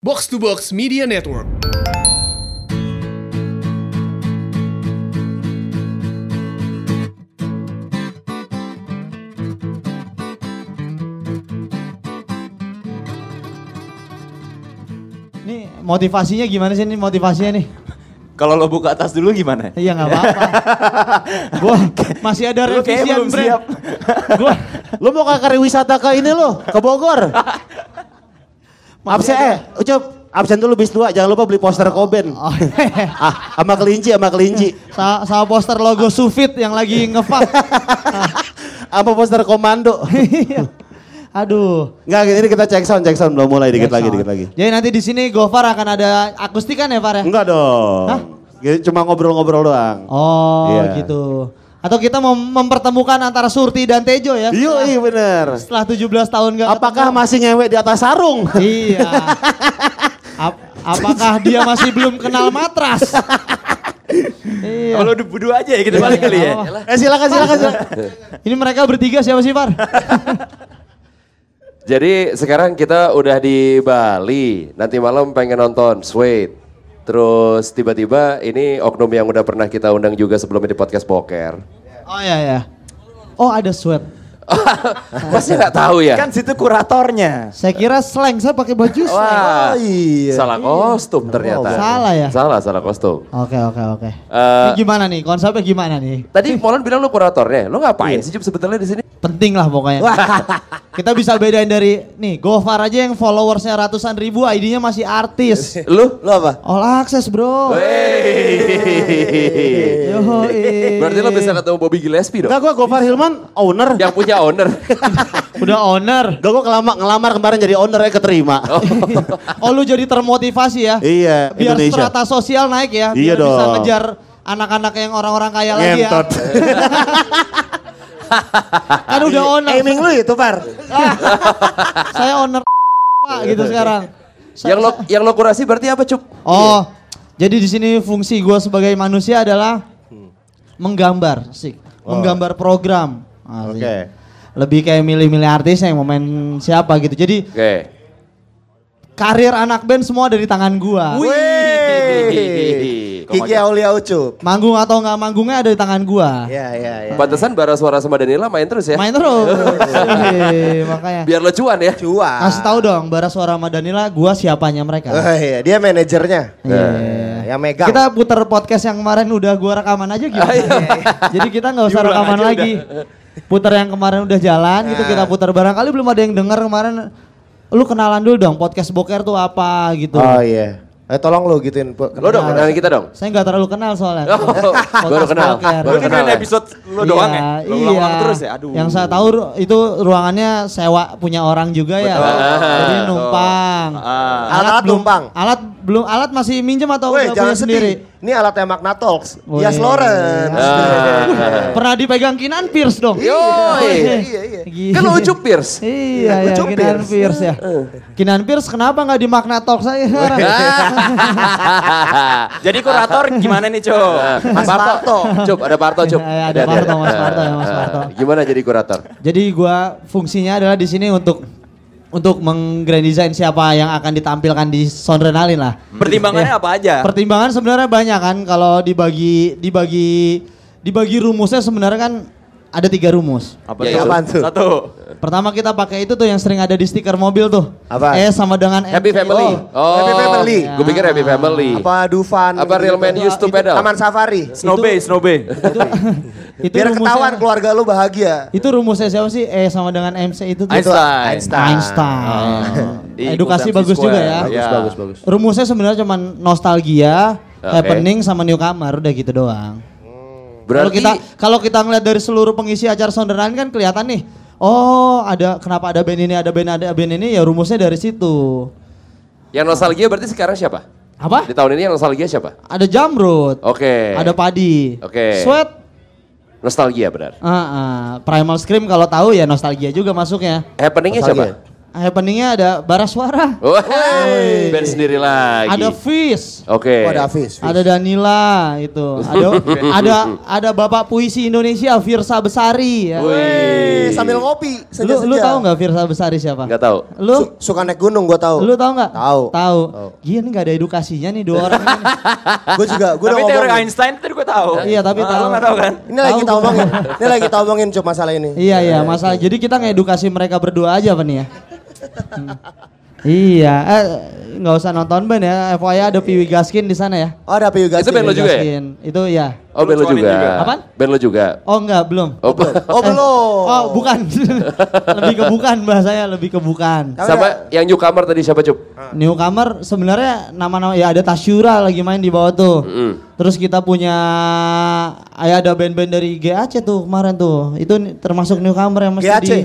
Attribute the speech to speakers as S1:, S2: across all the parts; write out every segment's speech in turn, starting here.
S1: Box to Box Media Network.
S2: Nih motivasinya gimana sih nih motivasinya nih?
S3: Kalau lo buka tas dulu gimana?
S2: Iya nggak apa-apa. gua masih ada
S3: Lu kayaknya
S2: revisian
S3: belum siap.
S2: Gua
S4: Lu mau ke wisata ke ini lo, ke Bogor. Absen, eh, ucup, absen dulu bis dua, jangan lupa beli poster Koben.
S2: Oh,
S4: ah, sama kelinci, sama kelinci.
S2: sa- sama poster logo Sufit yang lagi ngefak.
S4: Sama poster komando.
S2: Iya. Aduh.
S4: Enggak, ini kita cek sound, cek sound belum mulai dikit lagi, dikit lagi.
S2: Jadi nanti di sini Gofar akan ada akustikan ya Far ya?
S4: Enggak dong.
S2: Hah?
S4: Jadi Cuma ngobrol-ngobrol doang.
S2: Oh
S4: Iya.
S2: gitu. Atau kita mau mempertemukan antara Surti dan Tejo ya?
S4: Yoi
S2: Setelah-
S4: bener.
S2: Setelah 17 tahun gak
S4: Apakah
S2: ketemu.
S4: masih ngewe di atas sarung?
S2: Iya. Ap- apakah dia masih belum kenal matras? iya.
S3: Kalau udah berdua aja ya kita balik kali ya.
S2: Iya.
S4: eh silakan silakan silakan.
S2: Ini mereka bertiga siapa sih Far?
S5: Jadi sekarang kita udah di Bali. Nanti malam pengen nonton Sweet. Terus tiba-tiba ini oknum yang udah pernah kita undang juga sebelumnya di podcast Boker.
S2: Oh iya ya. Oh ada sweat.
S5: Masih nggak tahu ya?
S3: Kan situ kuratornya.
S2: Saya kira slang saya pakai baju slang.
S5: Wah,
S4: Oh, iya.
S5: salah kostum ternyata.
S2: Salah ya?
S5: Salah, salah kostum.
S2: Oke oke oke.
S5: Eh,
S2: Ini gimana nih? Konsepnya gimana nih?
S5: Tadi Molan bilang lu kuratornya. Lu ngapain sih Jup sebetulnya di sini?
S2: Penting lah pokoknya. Kita bisa bedain dari nih Gofar aja yang followersnya ratusan ribu, ID-nya masih artis.
S5: Lu?
S3: Lo apa?
S2: All access bro. iya.
S5: Wey.
S2: Yoi.
S5: Berarti lu bisa ketemu Bobby Gillespie dong?
S4: Enggak gua Gofar Hilman owner.
S2: Ya.
S5: Yang punya owner.
S2: Udah owner.
S4: Enggak gua kelama, ngelamar kemarin jadi owner ya keterima.
S2: Oh lu jadi termotivasi ya?
S4: Iya,
S2: Biar
S4: Indonesia.
S2: strata sosial naik ya.
S4: Iya
S2: Biar bisa
S4: dong.
S2: ngejar anak-anak yang orang-orang kaya lagi ya.
S4: Ngentot.
S2: Kan udah owner.
S4: Aiming lu itu, Par.
S2: Saya owner Pak gitu sekarang. Saya-
S5: yang lo yang lo kurasi berarti apa, Cup?
S2: Oh, jadi di sini fungsi gue sebagai manusia adalah menggambar, sih, menggambar program.
S4: Oh.
S2: Asik.
S4: Oke.
S2: Lebih kayak milih-milih artis yang mau main siapa gitu. Jadi
S5: Oke.
S2: karir anak band semua dari tangan gua.
S3: Wih. Kiki Aulia Ucup.
S2: Manggung atau nggak manggungnya ada di tangan
S4: Iya.
S2: gua.
S3: Ya ya ya.
S5: Pantesan bara suara sama Danila main terus ya.
S2: Main terus. Iya, makanya.
S5: Biar lo cuan ya.
S3: Cua.
S2: Kasih tahu dong, Bara Suara sama Danila, gua siapanya mereka.
S5: Eh,
S3: Oh iya, dia manajernya. Nah,
S2: Iya.
S3: Yang megang.
S2: Kita putar podcast yang kemarin udah gua rekaman aja
S5: Ah,
S2: gimana?
S5: iya.
S2: Jadi kita nggak usah
S3: Diulang
S2: rekaman
S3: aja
S2: lagi. Putar yang kemarin udah jalan gitu
S5: Eh.
S3: Nah.
S2: kita putar barangkali belum ada yang denger kemarin. Lu kenalan dulu dong podcast boker tuh apa gitu. Nah,
S3: Oh iya. Eh tolong lo gituin.
S5: Lo dong, kenalin kita dong.
S2: Saya nggak terlalu kenal soalnya.
S5: Oh, baru
S2: Podcast
S5: kenal.
S2: boker.
S5: Baru
S6: kan
S5: kenal. ya?
S2: Iya, iya.
S6: ya?
S2: Yang saya tahu ru- itu ruangannya sewa punya orang juga ya.
S5: Ah,
S2: Jadi numpang.
S3: Alat
S2: belum-
S3: numpang.
S2: Alat belum alat masih minjem atau udah
S3: Weh,
S2: punya
S3: jangan sedih. Iya,
S2: sendiri? Oh, iya.
S3: Ini alatnya Magna Talks.
S2: Weh.
S3: Yas Lawrence.
S5: Ah.
S2: Pernah dipegang Kinan Pierce dong.
S5: Yoi.
S3: Iya, iya.
S2: Gila.
S5: Kan lo ucup Pierce.
S2: Iya,
S3: Iya,
S2: ya,
S3: Ucup
S2: Kinan
S3: Pierce. Eh.
S2: Pierce ya. Kinan Pierce kenapa nggak di Magna Talk saya?
S6: Jadi kurator gimana nih, Cok?
S5: Mas Nah, Parto. Cup, ada Parto, Cup.
S2: Iya, ada Parto, Mas Parto ya, Mas Parto.
S5: Gimana jadi kurator?
S2: Jadi gua fungsinya adalah di sini untuk untuk menggrand design siapa yang akan ditampilkan di Sonrenalin lah. Iya.
S6: Pertimbangannya apa ya? aja?
S2: Pertimbangan sebenarnya banyak kan kalau dibagi dibagi dibagi rumusnya sebenarnya kan ada tiga rumus.
S6: Apa
S5: Ya,
S3: apaan tuh?
S6: Satu.
S2: Pertama kita pakai itu tuh yang sering ada di stiker mobil tuh.
S3: Apa?
S2: Eh sama dengan
S5: Happy
S2: MCO.
S5: Family. Oh,
S3: Happy Family.
S2: Iya.
S5: Gue pikir Happy Family.
S3: Apa Dufan?
S5: Apa
S3: gitu-gitu.
S5: Real Man
S2: Itu-
S5: Used to
S2: itu-
S5: Pedal?
S3: Taman Safari.
S6: Snowbay, Snowbay.
S2: Itu, itu
S3: Biar
S2: rumusnya-
S3: ketahuan keluarga lu bahagia.
S2: Itu rumusnya siapa sih? Eh sama dengan MC itu tuh.
S6: Einstein.
S2: Einstein. Oh.
S5: Equals
S2: Edukasi
S5: MC
S2: bagus
S5: square.
S2: juga ya.
S5: Bagus, bagus,
S3: bagus.
S2: Rumusnya sebenarnya cuman nostalgia,
S5: Oke.
S2: happening sama newcomer udah gitu doang. Kalau
S5: Berarti
S2: kita kalau kita ngeliat dari seluruh pengisi acara Sonderan kan kelihatan nih. Oh, ada kenapa ada band ini, ada band ada band ini ya rumusnya dari situ.
S5: yang nostalgia berarti sekarang siapa?
S2: Apa?
S5: Di tahun ini yang nostalgia siapa?
S2: Ada Jamrud.
S5: Oke.
S2: Ada Padi.
S5: Oke.
S2: Sweat.
S5: Nostalgia benar.
S2: Ah, ah. Primal Scream kalau tahu ya nostalgia juga masuknya.
S5: Happeningnya siapa?
S2: Happeningnya happeningnya ada Baraswara,
S5: Woi, band sendiri lagi.
S2: ada Fish,
S5: Oke.
S3: Oh, ada Hafiz.
S2: ada Danila itu, ada ada ada Bapak Puisi Indonesia Virsa Besari ya.
S5: Wih.
S3: Eh, sambil ngopi
S2: Lu
S3: senja-senja.
S2: lu tahu nggak Virsa Besari siapa?
S5: Enggak tahu.
S2: Lu
S3: Su- suka naik gunung gua tahu.
S2: Lu tahu nggak?
S3: Tahu.
S2: Tahu. Gini nggak ada edukasinya nih dua orang ini.
S3: Gua juga gua udah
S6: tapi teori
S3: ngomong. nih.
S6: Einstein tadi gue tahu.
S2: Iya, tapi
S6: Nah,
S2: tahu.
S6: Lo gak tahu kan?
S3: Ini lagi
S2: Tahu
S3: kita
S2: gua.
S3: omongin. Ini lagi kita omongin cuma masalah ini.
S2: iya iya masalah. Jadi kita ngedukasi mereka berdua aja apa nih ya? Hmm. Iya, eh, nggak usah nonton band ya. FYI ada Piwi Gaskin di sana ya.
S3: Oh, ada Piyu
S5: Itu band lo
S2: Piwi
S5: juga ya?
S2: Gaskin. Itu ya.
S5: Oh, band lo
S6: Lu
S5: juga.
S6: juga.
S2: Apaan?
S5: Band lo juga.
S2: Oh enggak, belum.
S5: Oh,
S3: Oh, belum.
S2: Oh, bukan. lebih ke bukan bahasanya, lebih ke bukan.
S5: sama yang newcomer tadi siapa, Cup?
S3: Ah.
S2: Newcomer sebenarnya nama-nama ya ada Tasyura lagi main di bawah tuh.
S5: Mm.
S2: Terus kita punya ya ada band-band dari GAC tuh kemarin tuh. Itu ni- termasuk newcomer yang mesti
S3: GAC.
S2: di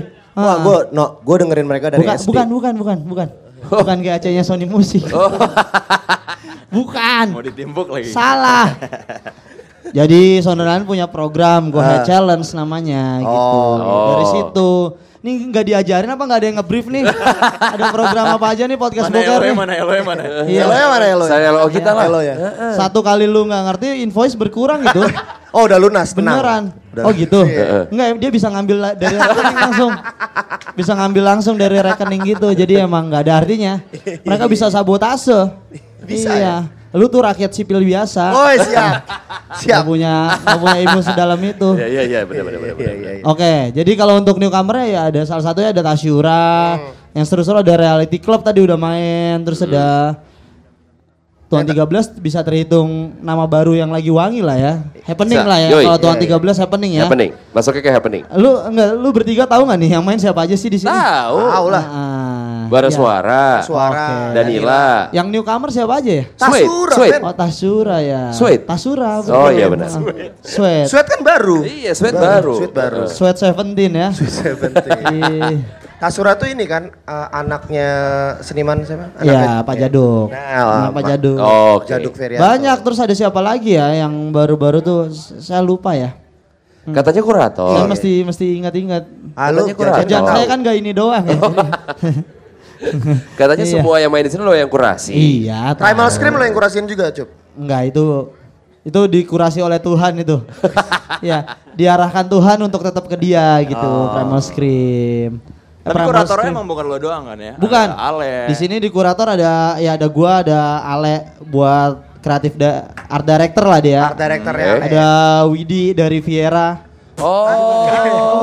S2: Ah.
S3: Wah, gua no, gua dengerin mereka dari
S2: bukan,
S3: SD.
S2: bukan bukan bukan bukan. Bukan GAC-nya Sony Music.
S3: Oh.
S6: Mau
S2: bukan.
S6: ditimbuk lagi.
S2: Salah. Jadi Sonderland punya program
S3: Ah.
S2: Go Ahead Challenge namanya gitu.
S5: Oh.
S2: Dari situ. Ini nggak diajarin apa nggak ada yang nge-brief nih? ada program apa aja nih podcast
S6: Mana
S2: boker
S6: Eloy
S2: nih?
S6: mana Eloy mana?
S3: Iya. Eloy mana Eloy?
S5: Saya lo kita lah.
S3: Eloy ya.
S2: Satu kali lu nggak ngerti invoice berkurang gitu.
S3: Oh, udah lunas, tenang.
S2: Beneran.
S3: Udah. Iya.
S2: Oh gitu. Enggak, dia bisa ngambil la- dari rekening langsung. Bisa ngambil langsung dari rekening gitu. Jadi emang nggak ada artinya. Mereka bisa sabotase.
S3: Bisa
S2: Iya. Lu tuh rakyat sipil biasa.
S3: Woi, siap.
S2: Nggak
S3: Siap.
S2: punya nggak punya ilmu sedalam itu.
S5: Iya, iya, iya, benar benar benar.
S3: Iya,
S5: benar.
S3: iya, iya.
S2: Oke, jadi kalau untuk newcomer ya ada salah satunya ada Tasyura,
S5: Hmm.
S2: yang seru-seru ada Reality Club tadi udah main, terus ada Tuan 13 bisa terhitung nama baru yang lagi wangi lah ya. Happening
S5: Bisa.
S2: lah ya.
S5: Yoi.
S2: Kalau Tuan
S5: Iya, iya.
S2: 13 happening ya.
S5: Happening. Masuknya ke happening.
S2: Lu enggak lu bertiga tahu nggak nih yang main siapa aja sih di sini?
S5: Tahu.
S3: Tahu lah.
S2: Ah,
S5: Bara
S2: iya.
S5: suara.
S3: Iya. Suara. Iya.
S2: Oke.
S5: Danila.
S2: Yang newcomer siapa aja ya?
S5: Sweet,
S3: Tasura,
S5: sweet.
S2: Oh Tasyura ya.
S5: Sweet.
S2: Tasura. ya? Ah.
S5: Oh, iya benar.
S2: Sweat.
S3: Sweat kan baru.
S5: Iya, sweet baru. Iya.
S3: Sweet baru.
S2: Sweat 17 ya. Ih,
S3: Tasura tuh ini kan eh, anaknya seniman siapa?
S2: Iya, Pak Jaduk.
S3: Nah,
S2: Anak Pak
S3: Pak-
S2: Jaduk.
S5: Oh, Oke.
S3: Jaduk Ferianto.
S2: Banyak terus ada siapa lagi ya yang baru-baru tuh s- saya lupa ya.
S5: Katanya kurator.
S6: Oh,
S2: saya mesti
S6: iya.
S2: mesti ingat-ingat.
S3: Halo,
S5: Katanya kurang.
S3: jajan
S2: Kerjaan
S5: tahu.
S2: saya kan gak ini doang
S6: Oh,
S2: ya.
S5: Katanya
S2: Iya.
S5: semua yang main di sini lo yang kurasi.
S2: iya. tahu.
S3: Primal Scream
S6: ya?
S3: lo yang kurasin juga, Cup.
S2: Enggak itu itu dikurasi oleh Tuhan itu. ya, diarahkan Tuhan untuk tetap ke dia gitu. Primal Scream. Eh,
S6: Oh. Tapi
S2: Primal
S6: kuratornya
S2: Scream.
S6: emang bukan lo doang kan ya?
S2: Bukan.
S6: Ada Ale.
S2: Di sini di kurator ada ya ada gua, ada Ale buat kreatif da- art director lah dia.
S3: Art director ya.
S2: Ada
S5: Eh.
S2: Widi dari Viera.
S5: Oh.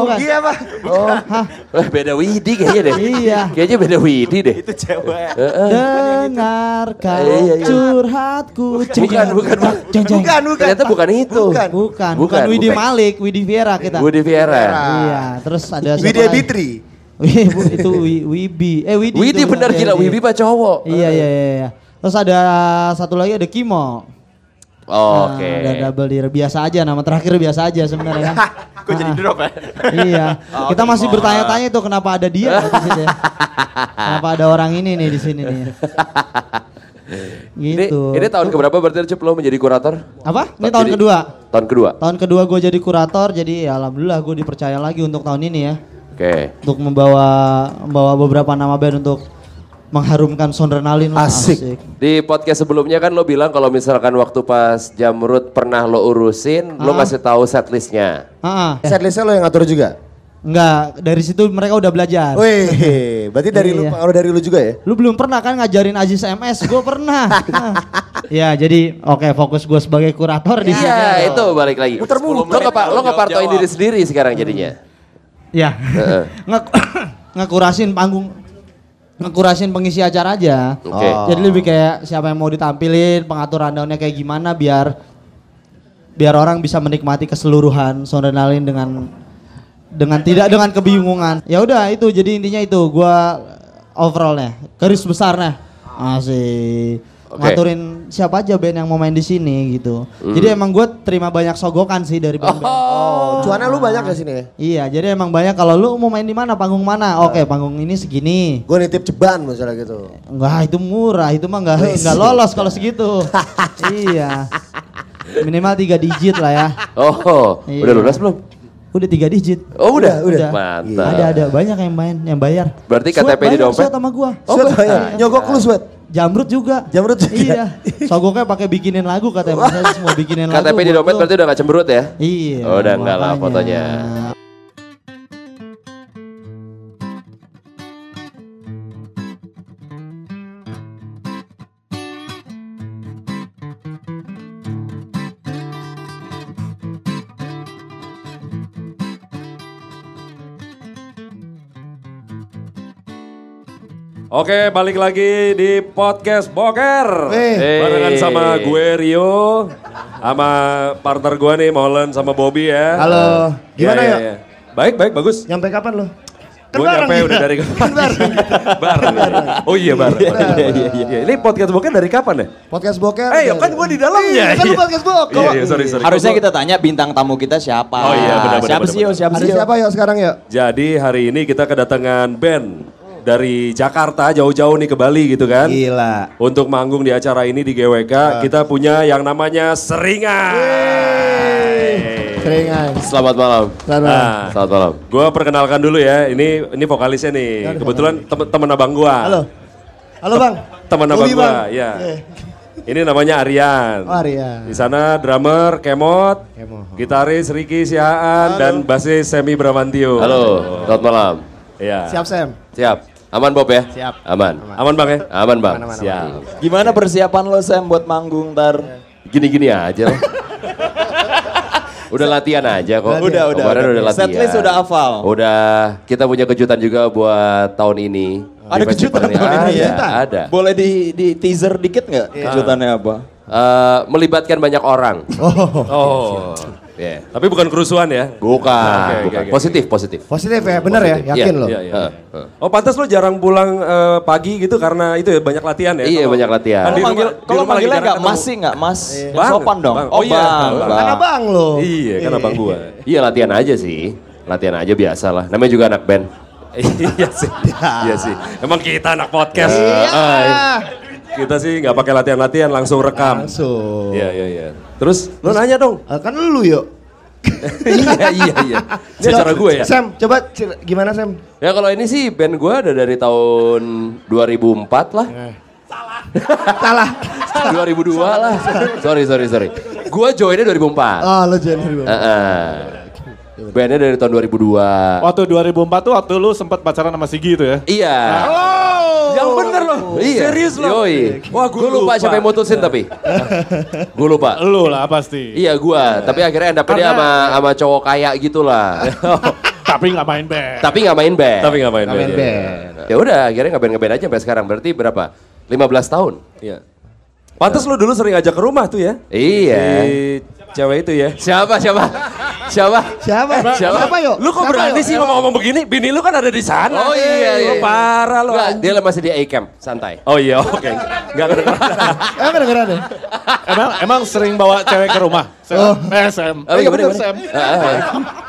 S2: bukan.
S3: Iya, Pak.
S2: Oh, hah.
S5: Eh, beda Widi kayaknya deh.
S2: Iya.
S5: Kayaknya beda Widi deh.
S6: Itu cewek.
S2: Dengarkan
S5: Iya, iya, iya.
S2: curhatku. Ceng,
S5: Bukan,
S2: ceng.
S5: bukan, bukan.
S2: Ceng, ceng.
S3: Bukan, bukan.
S5: Ternyata bukan itu.
S2: Bukan,
S3: Bukan.
S2: bukan
S5: Bukan,
S2: Widi
S5: bukan.
S2: Malik, Widi Viera kita.
S5: Widi Viera.
S2: Iya, terus ada siapa
S3: Widya
S2: lagi?
S3: Bitri.
S2: Wih, Bu, itu Wi, Wibi. Eh Widi.
S5: Widi
S2: itu
S5: benar
S2: iya,
S5: gila,
S2: iya.
S5: Widi pak cowok.
S2: Iya, iya, iya, iya. Terus ada satu lagi ada Kimo.
S5: Oh,
S2: Nah,
S5: Oke.
S2: Ada double deal biasa aja nama terakhir biasa aja sebenarnya kan.
S6: Kok jadi drop ya?
S2: iya.
S6: Oh,
S2: Kita masih
S6: Kimo.
S2: bertanya-tanya tuh kenapa ada dia di sini. ya. Kenapa ada orang ini nih di sini nih.
S5: Ini,
S2: gitu.
S5: ini tahun keberapa berarti Cep lo menjadi kurator?
S2: apa? Ini tahun
S5: Jadi-
S2: kedua.
S5: Tahun kedua.
S2: Tahun kedua gue jadi kurator, jadi ya alhamdulillah gue dipercaya lagi untuk tahun ini ya.
S5: Oke.
S2: Untuk membawa membawa beberapa nama band untuk mengharumkan Sondrenalin lah.
S3: Asik.
S5: Di podcast sebelumnya kan lo bilang kalau misalkan waktu pas Jamrut pernah lo urusin, lo kasih tahu setlistnya.
S2: Ah, ah.
S3: Setlistnya lo yang ngatur juga.
S2: Enggak, dari situ mereka udah belajar.
S3: Wih, berarti dari lu,
S2: Iya.
S3: pengaruh dari lu juga ya?
S2: Lu belum pernah kan ngajarin Aziz MS? Gue pernah. Nah. ya jadi oke fokus gue sebagai kurator di sini.
S5: Iya, itu balik lagi.
S6: Muter mulu.
S5: Lo ngepa,
S6: Jawab,
S5: lo ngepartoin
S6: jawab.
S5: diri sendiri sekarang jadinya.
S2: Ya.
S5: Heeh.
S2: Nge- ngekurasin panggung ngekurasin pengisi acara aja.
S5: Oke.
S3: Oh.
S2: Jadi lebih kayak siapa yang mau ditampilin, pengaturan rundownnya kayak gimana biar biar orang bisa menikmati keseluruhan Sondrenalin dengan dengan tidak dengan kebingungan. Ya udah itu jadi intinya itu gua overallnya garis besarnya masih
S5: Oke. Hmm.
S2: ngaturin siapa aja band yang mau main di sini gitu. Jadi emang gue terima banyak sogokan sih dari band-band.
S3: Oh, cuannya lu banyak ya sini ya?
S2: Iya, jadi emang banyak kalau lu mau main di mana, panggung
S5: Nah.
S2: mana. Oke, panggung ini segini.
S3: Gue nitip ceban misalnya gitu.
S2: Enggak, itu murah. Itu mah enggak
S3: Wis.
S2: enggak lolos kalau segitu. iya. Minimal tiga digit lah ya.
S5: Oh,
S2: Iya.
S5: udah lunas belum?
S2: Udah tiga digit. Iya,
S5: Oh, udah?
S2: udah.
S5: Mantap.
S2: Ada ada banyak yang main, yang bayar.
S5: Berarti
S2: Sweat
S5: KTP di
S2: banyak,
S5: dompet?
S2: sweat sama gua.
S1: Oh,
S2: Sweat.
S3: eh,
S1: banyak. Nyogok lu sweat.
S2: Jamrut juga.
S1: Jamrut juga.
S2: Iya. Sogoknya pakai bikinin lagu katanya. Masa semua bikinin lagu.
S5: KTP di
S2: buat
S5: dompet
S2: lu.
S5: berarti udah gak cemberut ya?
S2: Iya.
S5: Oh, udah enggak lah
S2: makanya.
S5: fotonya.
S7: Oke, balik lagi di podcast Boker.
S1: Weh.
S7: Barengan
S5: Hey.
S7: sama gue Rio, sama partner gue nih Molen sama Bobby ya.
S1: Halo. Gimana
S7: Iya, iya,
S1: ya?
S7: iya. Baik, baik, bagus.
S1: Nyampe kapan lo?
S7: Gue nyampe udah dari
S1: Kan bareng. Kan
S7: bareng. Oh iya bareng. Iya, iya, iya. Ini podcast Boker dari kapan ya?
S1: Podcast boker.
S7: Eh, ya kan gue di dalamnya.
S1: Iya, kan lu
S7: Iya.
S1: podcast boker.
S7: Iya, iya, sorry, sorry.
S6: Harusnya kita tanya bintang tamu kita siapa.
S7: Oh iya, benar-benar,
S6: Siapa sih yo,
S7: benar-benar.
S6: siapa
S1: Ada
S6: sih oh? yo.
S1: siapa ya sekarang ya?
S7: Jadi hari ini kita kedatangan band dari Jakarta jauh-jauh nih ke Bali gitu kan.
S1: Gila.
S7: Untuk manggung di acara ini di GWK, kita punya yang namanya Seringan.
S1: Seringan.
S5: Selamat malam.
S1: Selamat malam.
S7: Nah,
S5: Selamat malam.
S7: Gue perkenalkan dulu ya, ini ini vokalisnya nih. Kebetulan tem- teman abang gua.
S1: Halo. Halo Bang.
S7: Teman abang
S1: Bobi,
S7: gua, ya.
S1: Iya.
S7: Ini namanya Aryan.
S1: Oh,
S3: ya.
S1: Aryan.
S7: Di sana drummer Kemot, gitaris Riki Sihaan dan basis Semi Bramantio.
S5: Halo, selamat malam.
S7: Iya.
S1: Siap Sam.
S5: Siap. Aman Bob ya?
S2: Siap.
S5: Aman.
S7: Aman Bang ya?
S5: Aman, Bang.
S7: Siap.
S6: Gimana persiapan lo Sam buat manggung ntar?
S5: Gini-gini aja. lah. udah latihan aja kok.
S6: Udah, udah,
S5: Kemarin
S6: udah.
S5: udah latihan.
S6: Setlist udah hafal.
S5: Udah. Kita punya kejutan juga buat tahun ini.
S6: Ada
S5: Di festival
S6: kejutan tahun ini
S5: Ada,
S6: ya?
S5: ada.
S6: Boleh di, di teaser dikit nggak kejutannya apa?
S5: Eh, melibatkan banyak orang.
S7: Oh.
S5: Iya.
S7: Tapi bukan kerusuhan ya?
S5: Bukan,
S7: Oke, oke,
S5: bukan.
S7: oke.
S5: positif, positif.
S1: Positif ya, bener ya?
S5: Positif.
S1: Yakin lo?
S7: Iya, iya.
S5: Heeh, heeh.
S7: Oh pantas lo jarang pulang eh, pagi gitu karena itu ya banyak latihan ya?
S5: Iya,
S7: Kalau-
S5: banyak latihan.
S7: Kan di
S6: Kalau
S7: rumah-
S6: manggil,
S7: di
S6: kalau
S7: rumah lagi
S6: manggilnya
S7: jarang
S6: nggak
S7: ketemu.
S6: mas sih nggak mas, Yang
S7: Bang,
S6: sopan dong.
S7: Bang.
S6: Oh,
S7: Oh iya,
S6: bang,
S7: Bang.
S1: Kan abang lo.
S7: Iya, kan abang gua.
S5: Iya latihan aja sih. Latihan aja biasa lah. Namanya juga anak band.
S7: iya sih. Iya sih. Emang kita anak podcast. Ah, iya. Kita sih nggak pakai latihan-latihan, langsung rekam.
S1: Langsung.
S7: Iya, iya, iya. Terus lo nanya dong.
S1: Ah, Kan lu yuk.
S7: iya, iya, iya. Ini acara gue ya.
S1: Sam, coba cer- gimana Sam?
S5: Ya kalau ini sih band gue ada dari tahun 2004 lah.
S8: Eh.
S5: Salah. Salah. 2002 lah. Sorry, sorry, sorry. Gue
S8: Oh.
S5: joinnya 2004.
S1: Ah, lo
S7: Eh,
S1: Jenny.
S5: Heeh. Eh, Bandnya dari tahun 2002.
S8: Waktu 2004 tuh waktu lu sempat pacaran sama Sigi itu ya. Oh,
S5: Iya.
S7: Yang bener loh.
S5: Iya.
S7: Serius loh.
S5: Yoi.
S7: Wah,
S5: gue lupa, siapa yang mutusin tapi. gue lupa.
S8: Lu lah pasti.
S5: Iya gua, tapi akhirnya end up-nya dia sama sama cowok kaya gitu lah.
S8: Tapi nggak main band.
S5: tapi nggak main band.
S7: Tapi ngapain? Iya,
S1: Amin
S7: iya.
S1: Ben.
S5: Ya udah, akhirnya nggak band nggak band aja sampai sekarang. Berarti berapa? 15 tahun.
S7: Iya. Pantas lo dulu sering ajak ke rumah tuh ya.
S5: Iya.
S7: Si cewek itu ya.
S5: Siapa siapa? Siapa?
S1: Siapa?
S5: Eh, siapa?
S7: Oh,
S1: yuk?
S7: Lu kok
S1: Siapa,
S7: berani
S1: yuk?
S7: sih ngomong-ngomong begini? Bini lu kan ada di
S5: Oh
S7: sana.
S5: iya,
S7: Lu
S5: iya.
S7: parah lo.
S5: Nggak, dia masih di A camp, santai.
S7: Oh iya, oke. Nggak kedengeran.
S1: Eh, kedengeran ya?
S8: Emang emang sering bawa cewek ke rumah. Sam. Eh Sam.
S5: Oh,
S8: Eh,
S5: iya,
S8: bener,
S5: bener.
S8: Sam.
S5: Ah, ah.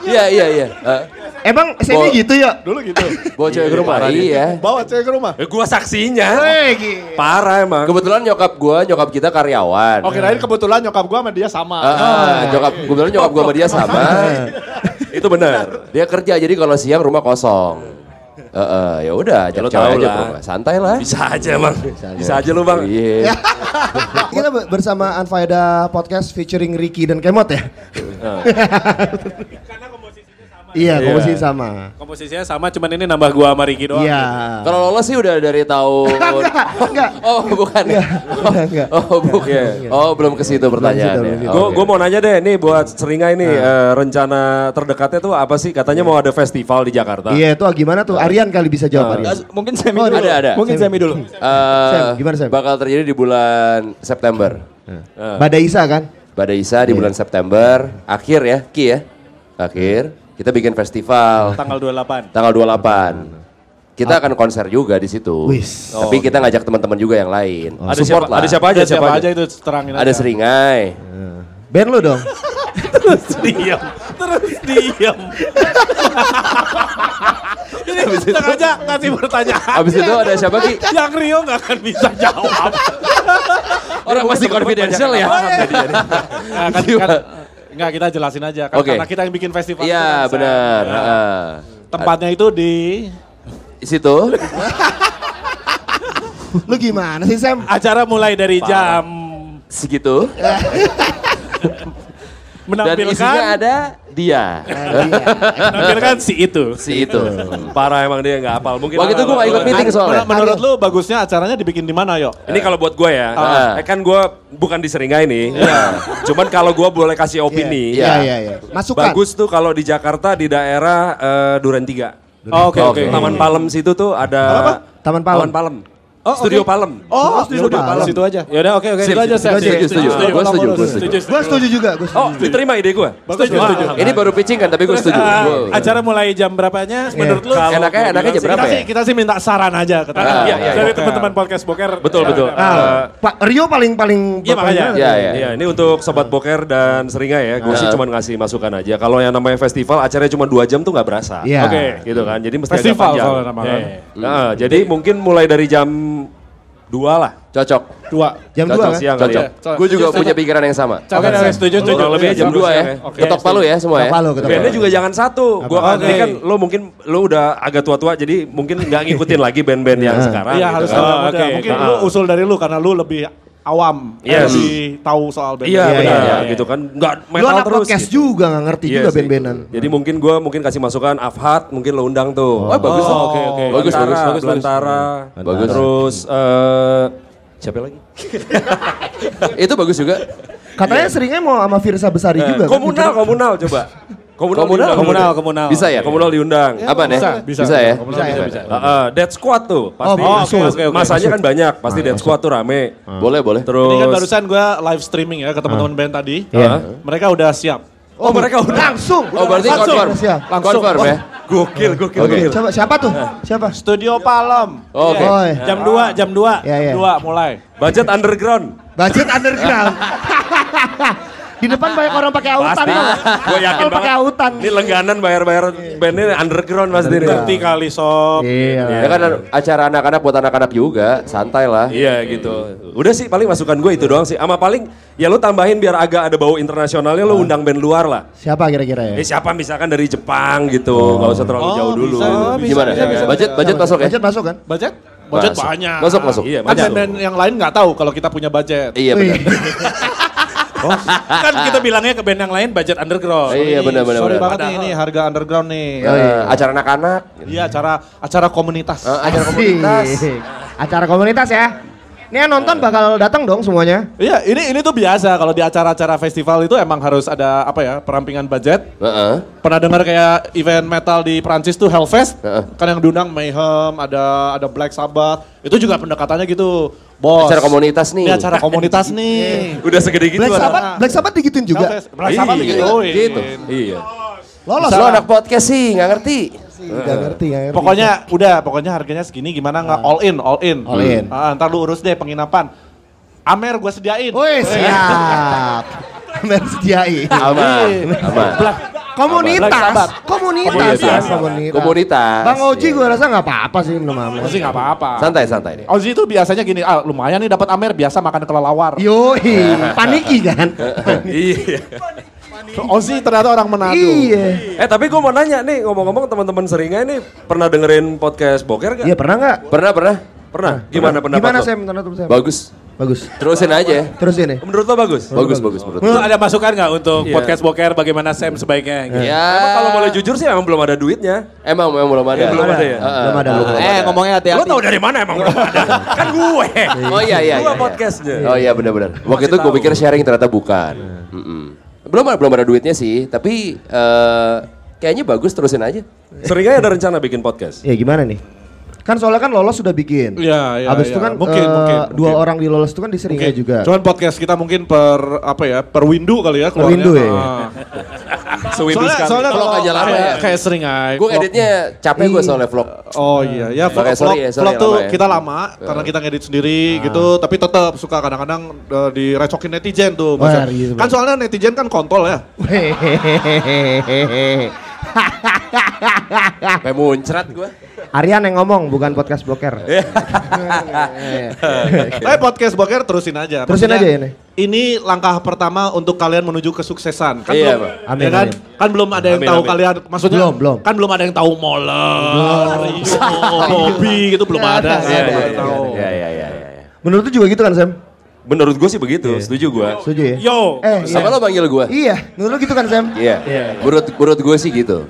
S5: Iya iya iya. Ah,
S1: Emang Sammy
S5: Oh.
S1: gitu ya?
S8: Dulu gitu.
S5: Bawa cewek ke rumah. Iya.
S8: Bawa cewek ke rumah.
S7: Eh, gua saksinya.
S1: Wih,
S7: Parah emang.
S5: Kebetulan nyokap gua, nyokap kita karyawan.
S8: Oke, lain kebetulan nyokap gua sama dia sama.
S5: Ah, ah,
S8: iya.
S5: nyokap, kebetulan nyokap gua sama dia sama.
S7: Itu benar.
S5: Dia kerja jadi kalau siang rumah kosong. Eh, eh, ya udah, ajak
S7: lo
S5: cewek
S7: tahu
S5: aja
S7: lah.
S5: ke rumah. Santai lah.
S7: Bisa aja emang. Bisa aja lu bang.
S1: Ya.
S5: Iya.
S1: Kita be- bersama Anfaida Podcast featuring Ricky dan Kemot ya? Iya, komposisi sama.
S8: Komposisinya sama, cuman ini nambah gua sama Riki doang.
S1: Iya.
S5: Kalau lolos sih udah dari tahun.
S1: Enggak, enggak.
S5: Oh, bukan ya. Oh,
S1: enggak.
S5: Oh, bukan. Oh, belum ke situ pertanyaannya.
S1: belum ke situ.
S7: Gue
S5: Oke.
S7: mau nanya deh nih buat Seringa ini eh, rencana terdekatnya tuh apa sih? Katanya mau ada festival di Jakarta.
S1: Iya, itu gimana tuh? Arian kali bisa
S6: Nggak,
S1: jawab Arian.
S6: Mungkin Sammy
S1: Oh,
S6: dulu.
S5: ada, ada.
S6: Mungkin Sammy dulu.
S5: Eh,
S1: Sam, gimana, Sam? Iya.
S5: Bakal terjadi di bulan September.
S1: Badai Isa kan?
S5: Badai Isa di bulan September, akhir ya, Ki ya. Akhir, kita bikin festival
S8: Tanggal 28.
S5: tanggal 28. Kita akan konser juga di situ.
S1: Wis. Oh,
S5: Tapi kita ngajak teman-teman juga yang lain.
S7: Ada
S5: Support
S7: siapa,
S5: lah.
S7: ada siapa aja?
S8: Ada
S7: Siapa, aja?
S8: itu terangin
S5: Ada Seringai.
S1: Band lu dong.
S8: Diam. Terus diam. Ini sengaja ngasih pertanyaan.
S5: Abis itu ada siapa Ki?
S8: Yang Rio nggak akan bisa jawab.
S5: Ya, Orang masih confidential ya.
S8: Nah, kan, kan, Enggak, kita jelasin aja. Kan
S5: Oke.
S8: Karena kita yang bikin festival. itu
S5: Iya
S8: kan, Sam.
S5: benar.
S8: Ya.
S5: Heeh.
S8: Tempatnya itu di...
S5: Di situ.
S3: Lu gimana sih Sam?
S8: Acara mulai dari jam
S5: Segitu. Dan
S8: menampilkan
S5: isinya ada dia.
S8: menampilkan si itu.
S5: si itu.
S7: Parah emang dia nggak hafal. Mungkin
S5: Waktu itu gue
S7: hafal.
S5: gak ikut meeting soalnya.
S8: Menur- Menurut lu bagusnya acaranya dibikin di mana, Yo?
S7: Ini kalau buat gue ya,
S5: Ah.
S7: eh, kan gue bukan di Seringai nih. Cuman kalau gue boleh kasih
S5: Iya.
S7: opini,
S3: Iya, iya, iya. Masukan.
S7: bagus tuh kalau di Jakarta di daerah eh, Duren Tiga.
S8: Oh, Oke, oke.
S7: Taman Palem situ tuh ada
S3: Taman Palem.
S7: Palem. Studio Palem.
S8: Oh,
S3: Studio
S8: studio
S3: Palem.
S8: Palem. Situ aja. Yaudah, oke, oke.
S5: Sip,
S8: Situ aja,
S5: sip,
S8: Sam.
S5: setuju, setuju. Gua setuju, gua setuju.
S3: Gue setuju juga, gue
S7: Oh,
S3: setuju.
S7: diterima ide gue.
S8: Setuju, setuju.
S5: Ini baru pitching kan tapi gue
S8: Terus,
S5: setuju.
S8: eh,
S5: Gua-
S8: acara mulai jam berapanya? Menurut lu?
S5: Enaknya-
S7: gua bilang
S5: enaknya jam
S7: sih-
S5: berapa
S8: Iya. kita
S5: ya?
S8: sih kita sih minta saran aja ke
S5: Ah, iya, iya,
S8: dari
S7: iya.
S8: teman-teman podcast boker. Ya.
S7: Betul, betul. Eh,
S3: Ah, Pak Rio paling paling
S8: Iya, makanya.
S3: berpengaruh.
S5: Iya, iya.
S7: Iya, ini untuk sobat boker dan seringai ya. Gue sih cuma ngasih masukan aja. Kalau yang namanya festival, acaranya cuma dua jam tuh nggak berasa.
S3: Iya.
S7: Oke, gitu kan. Jadi mesti agak
S8: Festival
S7: panjang.
S8: soalnya namanya.
S7: Iya. Nah, jadi mungkin mulai dari jam dua lah.
S5: Cocok.
S8: Dua.
S3: Jam
S7: Jam
S3: 2 kan?
S7: siang kali
S5: Cocok.
S7: ya.
S8: Cocok.
S5: Gue juga punya pikiran yang sama.
S8: Oke, oke, setuju, setuju. Iya,
S7: Kurang lebih jam
S5: Jam dua ya.
S7: Oke.
S5: Ketok palu ya semua ya.
S3: Ketok palu, ketok
S7: Bandnya juga jangan satu. Gua kan,
S8: Oke.
S7: ini kan lo mungkin lo udah agak tua-tua jadi mungkin nggak ngikutin lagi band-band yang sekarang.
S8: Iya,
S7: gitu
S8: harus
S5: Ah,
S7: kan.
S8: sama
S7: Oh,
S8: muda.
S7: oke.
S8: Mungkin
S7: Nah.
S8: lu usul dari lu karena lu lebih awam, eh,
S7: Yes.
S8: lebih tahu soal band.
S7: Iya,
S3: Iya,
S7: benar
S3: iya,
S7: ya, gitu kan. Nggak
S3: Lu
S7: metal
S3: anak
S7: terus.
S3: podcast
S7: gitu.
S3: juga gak ngerti
S7: Iya
S3: juga
S7: sih.
S3: band-bandan.
S7: Jadi mungkin gue mungkin kasih masukan Afhat mungkin lo undang tuh.
S5: Oh, bagus.
S7: Oh, Oke oke.
S5: Bagus, bagus,
S7: Belantara,
S5: bagus, bagus.
S7: Belantara.
S5: Bagus.
S7: Terus eh, siapa lagi?
S5: Itu bagus juga.
S3: Katanya seringnya mau sama Firsa Besari juga. kan?
S7: Iya. Komunal komunal coba. Komunal
S5: Komunal?
S7: diundang.
S8: Komunal, komunal.
S5: Bisa ya?
S7: Komunal diundang.
S5: Apa nih?
S8: bisa,
S5: Bisa ya?
S8: Bisa, bisa, bisa.
S7: Ah, ah, Dead Squad tuh pasti.
S3: Oh, masuk.
S7: Mas- Masanya kan banyak, pasti Dead Squad tuh rame.
S5: Boleh, boleh.
S7: Terus
S8: Ini kan barusan gue live streaming ya ke
S5: Ah.
S8: teman-teman band tadi.
S5: Iya.
S8: Mereka udah siap.
S3: Oh, mereka udah. Langsung.
S5: Oh, berarti
S3: Langsung.
S5: confirm.
S3: Siap.
S5: Confirm ya.
S7: Oh, gokil gokil
S5: Oke.
S7: gokil.
S3: Siapa, siapa tuh? Siapa?
S8: Studio Palem.
S5: Oke.
S8: Iya.
S3: Oi.
S8: Jam
S5: Ah.
S8: 2, jam 2.
S3: Iya, iya.
S8: Jam 2 mulai.
S7: Budget underground.
S3: Budget underground. Di depan banyak orang pakai autan.
S7: Pasti. Gue yakin
S3: Orang pakai
S7: banget.
S3: autan.
S7: Ini lengganan bayar-bayar bandnya underground pasti nih.
S8: Ngerti kali sob.
S3: Iya.
S5: Ya kan acara anak-anak buat anak-anak juga, santai lah.
S7: Iya gitu. Udah sih paling masukan gue itu doang sih. Ama paling ya lu tambahin biar agak ada bau internasionalnya lu undang band luar lah.
S3: Siapa kira-kira ya?
S7: Eh siapa misalkan dari Jepang gitu. nggak usah terlalu
S8: Oh,
S7: jauh dulu.
S5: Gimana? budget budget masuk ya?
S3: Budget masuk kan?
S8: Budget? Budget
S5: Masuk.
S8: banyak.
S5: Masuk, masuk.
S7: Iya,
S8: Kan
S7: banyak.
S8: band yang lain nggak tahu kalau kita punya budget.
S5: Iya benar.
S8: kan kita bilangnya ke band yang lain budget underground. Ih,
S5: Iya, benar, benar,
S8: Sorry
S5: benar.
S8: banget nih ini harga underground nih.
S5: Eh, acara anak-anak.
S8: Iya acara acara komunitas.
S5: Eh, acara komunitas.
S3: Asik. Acara komunitas ya. Ini yang nonton bakal datang dong semuanya.
S8: Iya, ini ini tuh biasa kalau di acara-acara festival itu emang harus ada apa ya, perampingan budget.
S5: Heeh.
S8: Pernah dengar kayak event metal di Prancis tuh Hellfest?
S5: Heeh.
S8: Kan yang diundang Mayhem, Eh, ada ada Black Sabbath. Itu juga pendekatannya gitu. Bos.
S5: Acara komunitas nih.
S8: Ini acara komunitas nih.
S7: Udah segede gitu.
S3: Black
S7: anak.
S3: Sabbath, Black Sabbath digituin juga.
S8: Hellfest. Black Sabbath
S7: Iya,
S8: gitu.
S5: gitu.
S7: Iya.
S3: Lolos.
S5: Lo anak podcast sih, nggak ngerti.
S3: Enggak ngerti ya.
S8: Pokoknya udah, pokoknya harganya segini gimana nggak all in, all in.
S3: All in.
S8: Ah, ntar lu urus deh penginapan. Amer gue sediain.
S3: Woi, siap. Amer sediain.
S5: Aman. Iya. Aman.
S3: Komunitas, komunitas,
S5: Komunitas. Komunitas.
S3: Bang Oji
S5: Iya.
S3: gue rasa nggak apa-apa sih minum amer.
S8: Masih nggak apa-apa.
S5: Santai santai deh.
S8: Ozi itu biasanya gini, ah lumayan nih dapat Amer biasa makan kelelawar.
S3: Yoi, paniki kan?
S7: Iya.
S8: Ozi ternyata orang Manado.
S3: iya.
S7: Eh tapi gue mau nanya nih ngomong-ngomong teman-teman seringnya ini pernah dengerin podcast Boker gak?
S3: Iya pernah nggak?
S5: Pernah pernah.
S7: Pernah. Gimana pendapat
S3: Gimana
S7: lo?
S3: Sam? Menurut Sam?
S5: Bagus.
S3: Bagus.
S5: Terusin aja.
S3: Terus ini.
S7: Menurut lo bagus?
S5: Bagus bagus menurut
S8: Lu
S5: gue.
S8: ada masukan nggak untuk podcast Boker bagaimana Sam sebaiknya? Gitu?
S5: Ya.
S7: Emang kalau boleh jujur sih emang belum ada duitnya.
S5: Emang memang belum ada.
S7: Ya, belum ada ya?
S5: Heeh,
S3: Belum ada.
S9: Eh ngomongnya
S7: Lo
S9: hati-hati.
S7: tau dari mana emang belum ada? kan gue.
S5: Oh iya iya. iya,
S7: Gue
S5: iya.
S7: podcastnya.
S5: Oh iya benar-benar. Waktu itu gue pikir sharing ternyata bukan. Mm-mm. Belum ada belum ada duitnya sih, tapi eh, kayaknya bagus terusin aja.
S7: Seringnya ada rencana bikin podcast.
S3: Ya gimana nih? Kan soalnya kan lolos sudah bikin.
S8: Iya, iya,
S3: Abis itu
S8: iya.
S3: kan
S8: Mungkin,
S3: eh,
S8: mungkin,
S3: dua
S8: mungkin.
S3: orang di lolos itu kan diseringai
S8: Oke.
S3: juga.
S8: Cuman podcast kita mungkin per apa ya, per window kali ya keluarnya.
S3: window ya, iya.
S8: Ah.
S7: Sewindu
S8: Soalnya,
S7: sekali.
S8: soalnya
S5: Kalau
S8: kalau
S5: nggak jalan
S8: apa
S5: ya.
S8: ya, kayak sering aja.
S5: Gue editnya capek gue soalnya vlog.
S8: Oh iya, ya vlog,
S5: Makanya sorry ya,
S8: vlog-
S5: sorry
S8: vlog tuh
S5: ya, lama ya.
S8: kita lama karena kita ngedit sendiri gitu, tapi tetap suka kadang-kadang eh, direcokin netizen tuh.
S3: Wah,
S8: Maksudnya-
S3: iya,
S8: kan soalnya netizen kan kontol ya.
S3: Hehehe.
S5: Kayak muncrat gue.
S3: Aryan yang ngomong, bukan podcast bloker.
S1: Eh,
S8: Tapi podcast boker terusin aja.
S3: Terusin
S8: Maksudnya,
S3: aja ya, nih.
S1: ini langkah pertama untuk kalian menuju kesuksesan. Kan
S5: Iya,
S1: belum,
S5: Pak.
S1: ya kan? Kan belum ada yang
S7: Amin,
S1: tahu
S7: amin.
S1: kalian maksudnya
S8: Belum, belum.
S1: kan belum ada yang tahu Moller, Rio, Bobby gitu belum ada.
S5: Iya,
S1: Belum
S5: iya,
S1: ada yang
S5: iya,
S1: tahu.
S5: iya, iya, iya, iya.
S3: Menurut lu juga gitu kan Sam?
S7: Menurut gue sih begitu, setuju gue.
S3: Setuju ya?
S7: Yo,
S3: Eh,
S5: Sama lo panggil gue?
S3: Iya, menurut lu gitu kan Sam?
S5: Iya. Menurut menurut gue sih gitu.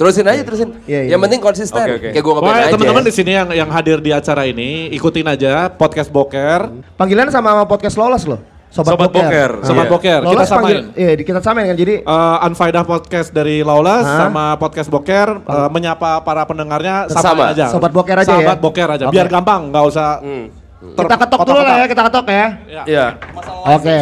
S5: Terusin aja terusin.
S3: Iya, iya.
S5: Yang penting konsisten.
S7: Oke, oke.
S5: Kayak gue ngapain
S1: Pokoknya
S5: aja. Iya,
S1: teman-teman di sini yang yang hadir di acara ini ikutin aja podcast Boker.
S3: Panggilan sama sama podcast lolos loh.
S7: Sobat Boker. Iya.
S1: Sobat Boker, kita
S3: Lolos
S1: samain.
S3: panggil, iya di- kita samain kan jadi
S1: Eh, Unfaedah Podcast dari Lawless
S3: Hah?
S1: sama Podcast Boker eh, menyapa para pendengarnya sama,
S5: Sama.
S1: aja.
S3: Sobat Boker aja ya?
S1: Sahabat Boker aja,
S3: Oke. Hmm.
S1: biar gampang, nggak usah ter-
S3: kita ketok dulu
S1: kotak-kotak.
S3: lah ya, kita ketok ya.
S7: Iya.
S3: Oke.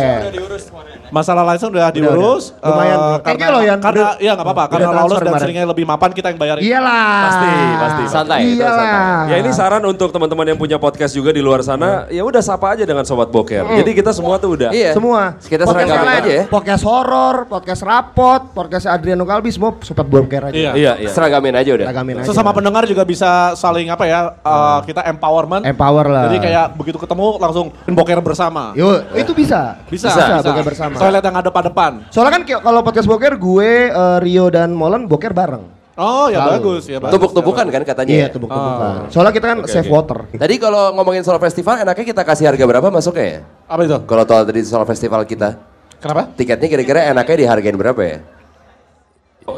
S1: Masalah license udah diurus.
S3: udah. Lumayan.
S1: eh,
S3: Thank you loh, Yan.
S1: Karena
S3: Udah-
S1: ya nggak apa-apa,
S3: udah
S1: karena
S3: transfer
S1: Lawless dan
S3: kemarin.
S1: seringnya lebih mapan kita yang bayarin.
S3: Iyalah. Iya.
S7: Pasti, pasti.
S10: Santai, itu
S3: Iyalah.
S7: Ya ini saran untuk teman-teman yang punya podcast juga di luar sana, ya udah sapa aja dengan sobat boker. Jadi kita semua tuh udah.
S5: Iya.
S3: Semua.
S5: Kita seragamin
S3: apa?
S5: aja ya.
S3: Podcast horor, podcast rapot, podcast Adriano Kalbi semua sobat boker aja.
S1: Iya.
S7: Iya, iya.
S5: Seragamin aja udah.
S3: Seragamin aja.
S1: Sesama pendengar juga bisa saling apa ya, eh, kita empowerment.
S3: Hmm. Empower lah.
S1: Jadi kayak begitu ketemu langsung boker bersama.
S3: Yuk, itu bisa.
S1: Bisa,
S3: bisa, boker bersama.
S1: Toilet yang ada pada depan.
S3: Soalnya kan kayak kalau podcast boker gue, eh, Rio dan Molen boker bareng.
S1: Oh ya bagus ya bagus.
S5: Tumpuk-tumpukan kan katanya.
S3: Iya,
S5: ya?
S1: Oh.
S3: tumpuk-tumpukan. Soalnya kita kan save water.
S5: Tadi kalau ngomongin soal festival, enaknya kita kasih harga berapa masuknya ya?
S1: Apa itu?
S5: Kalau soal tadi soal festival kita,
S1: Kenapa?
S5: tiketnya kira-kira enaknya dihargain berapa ya?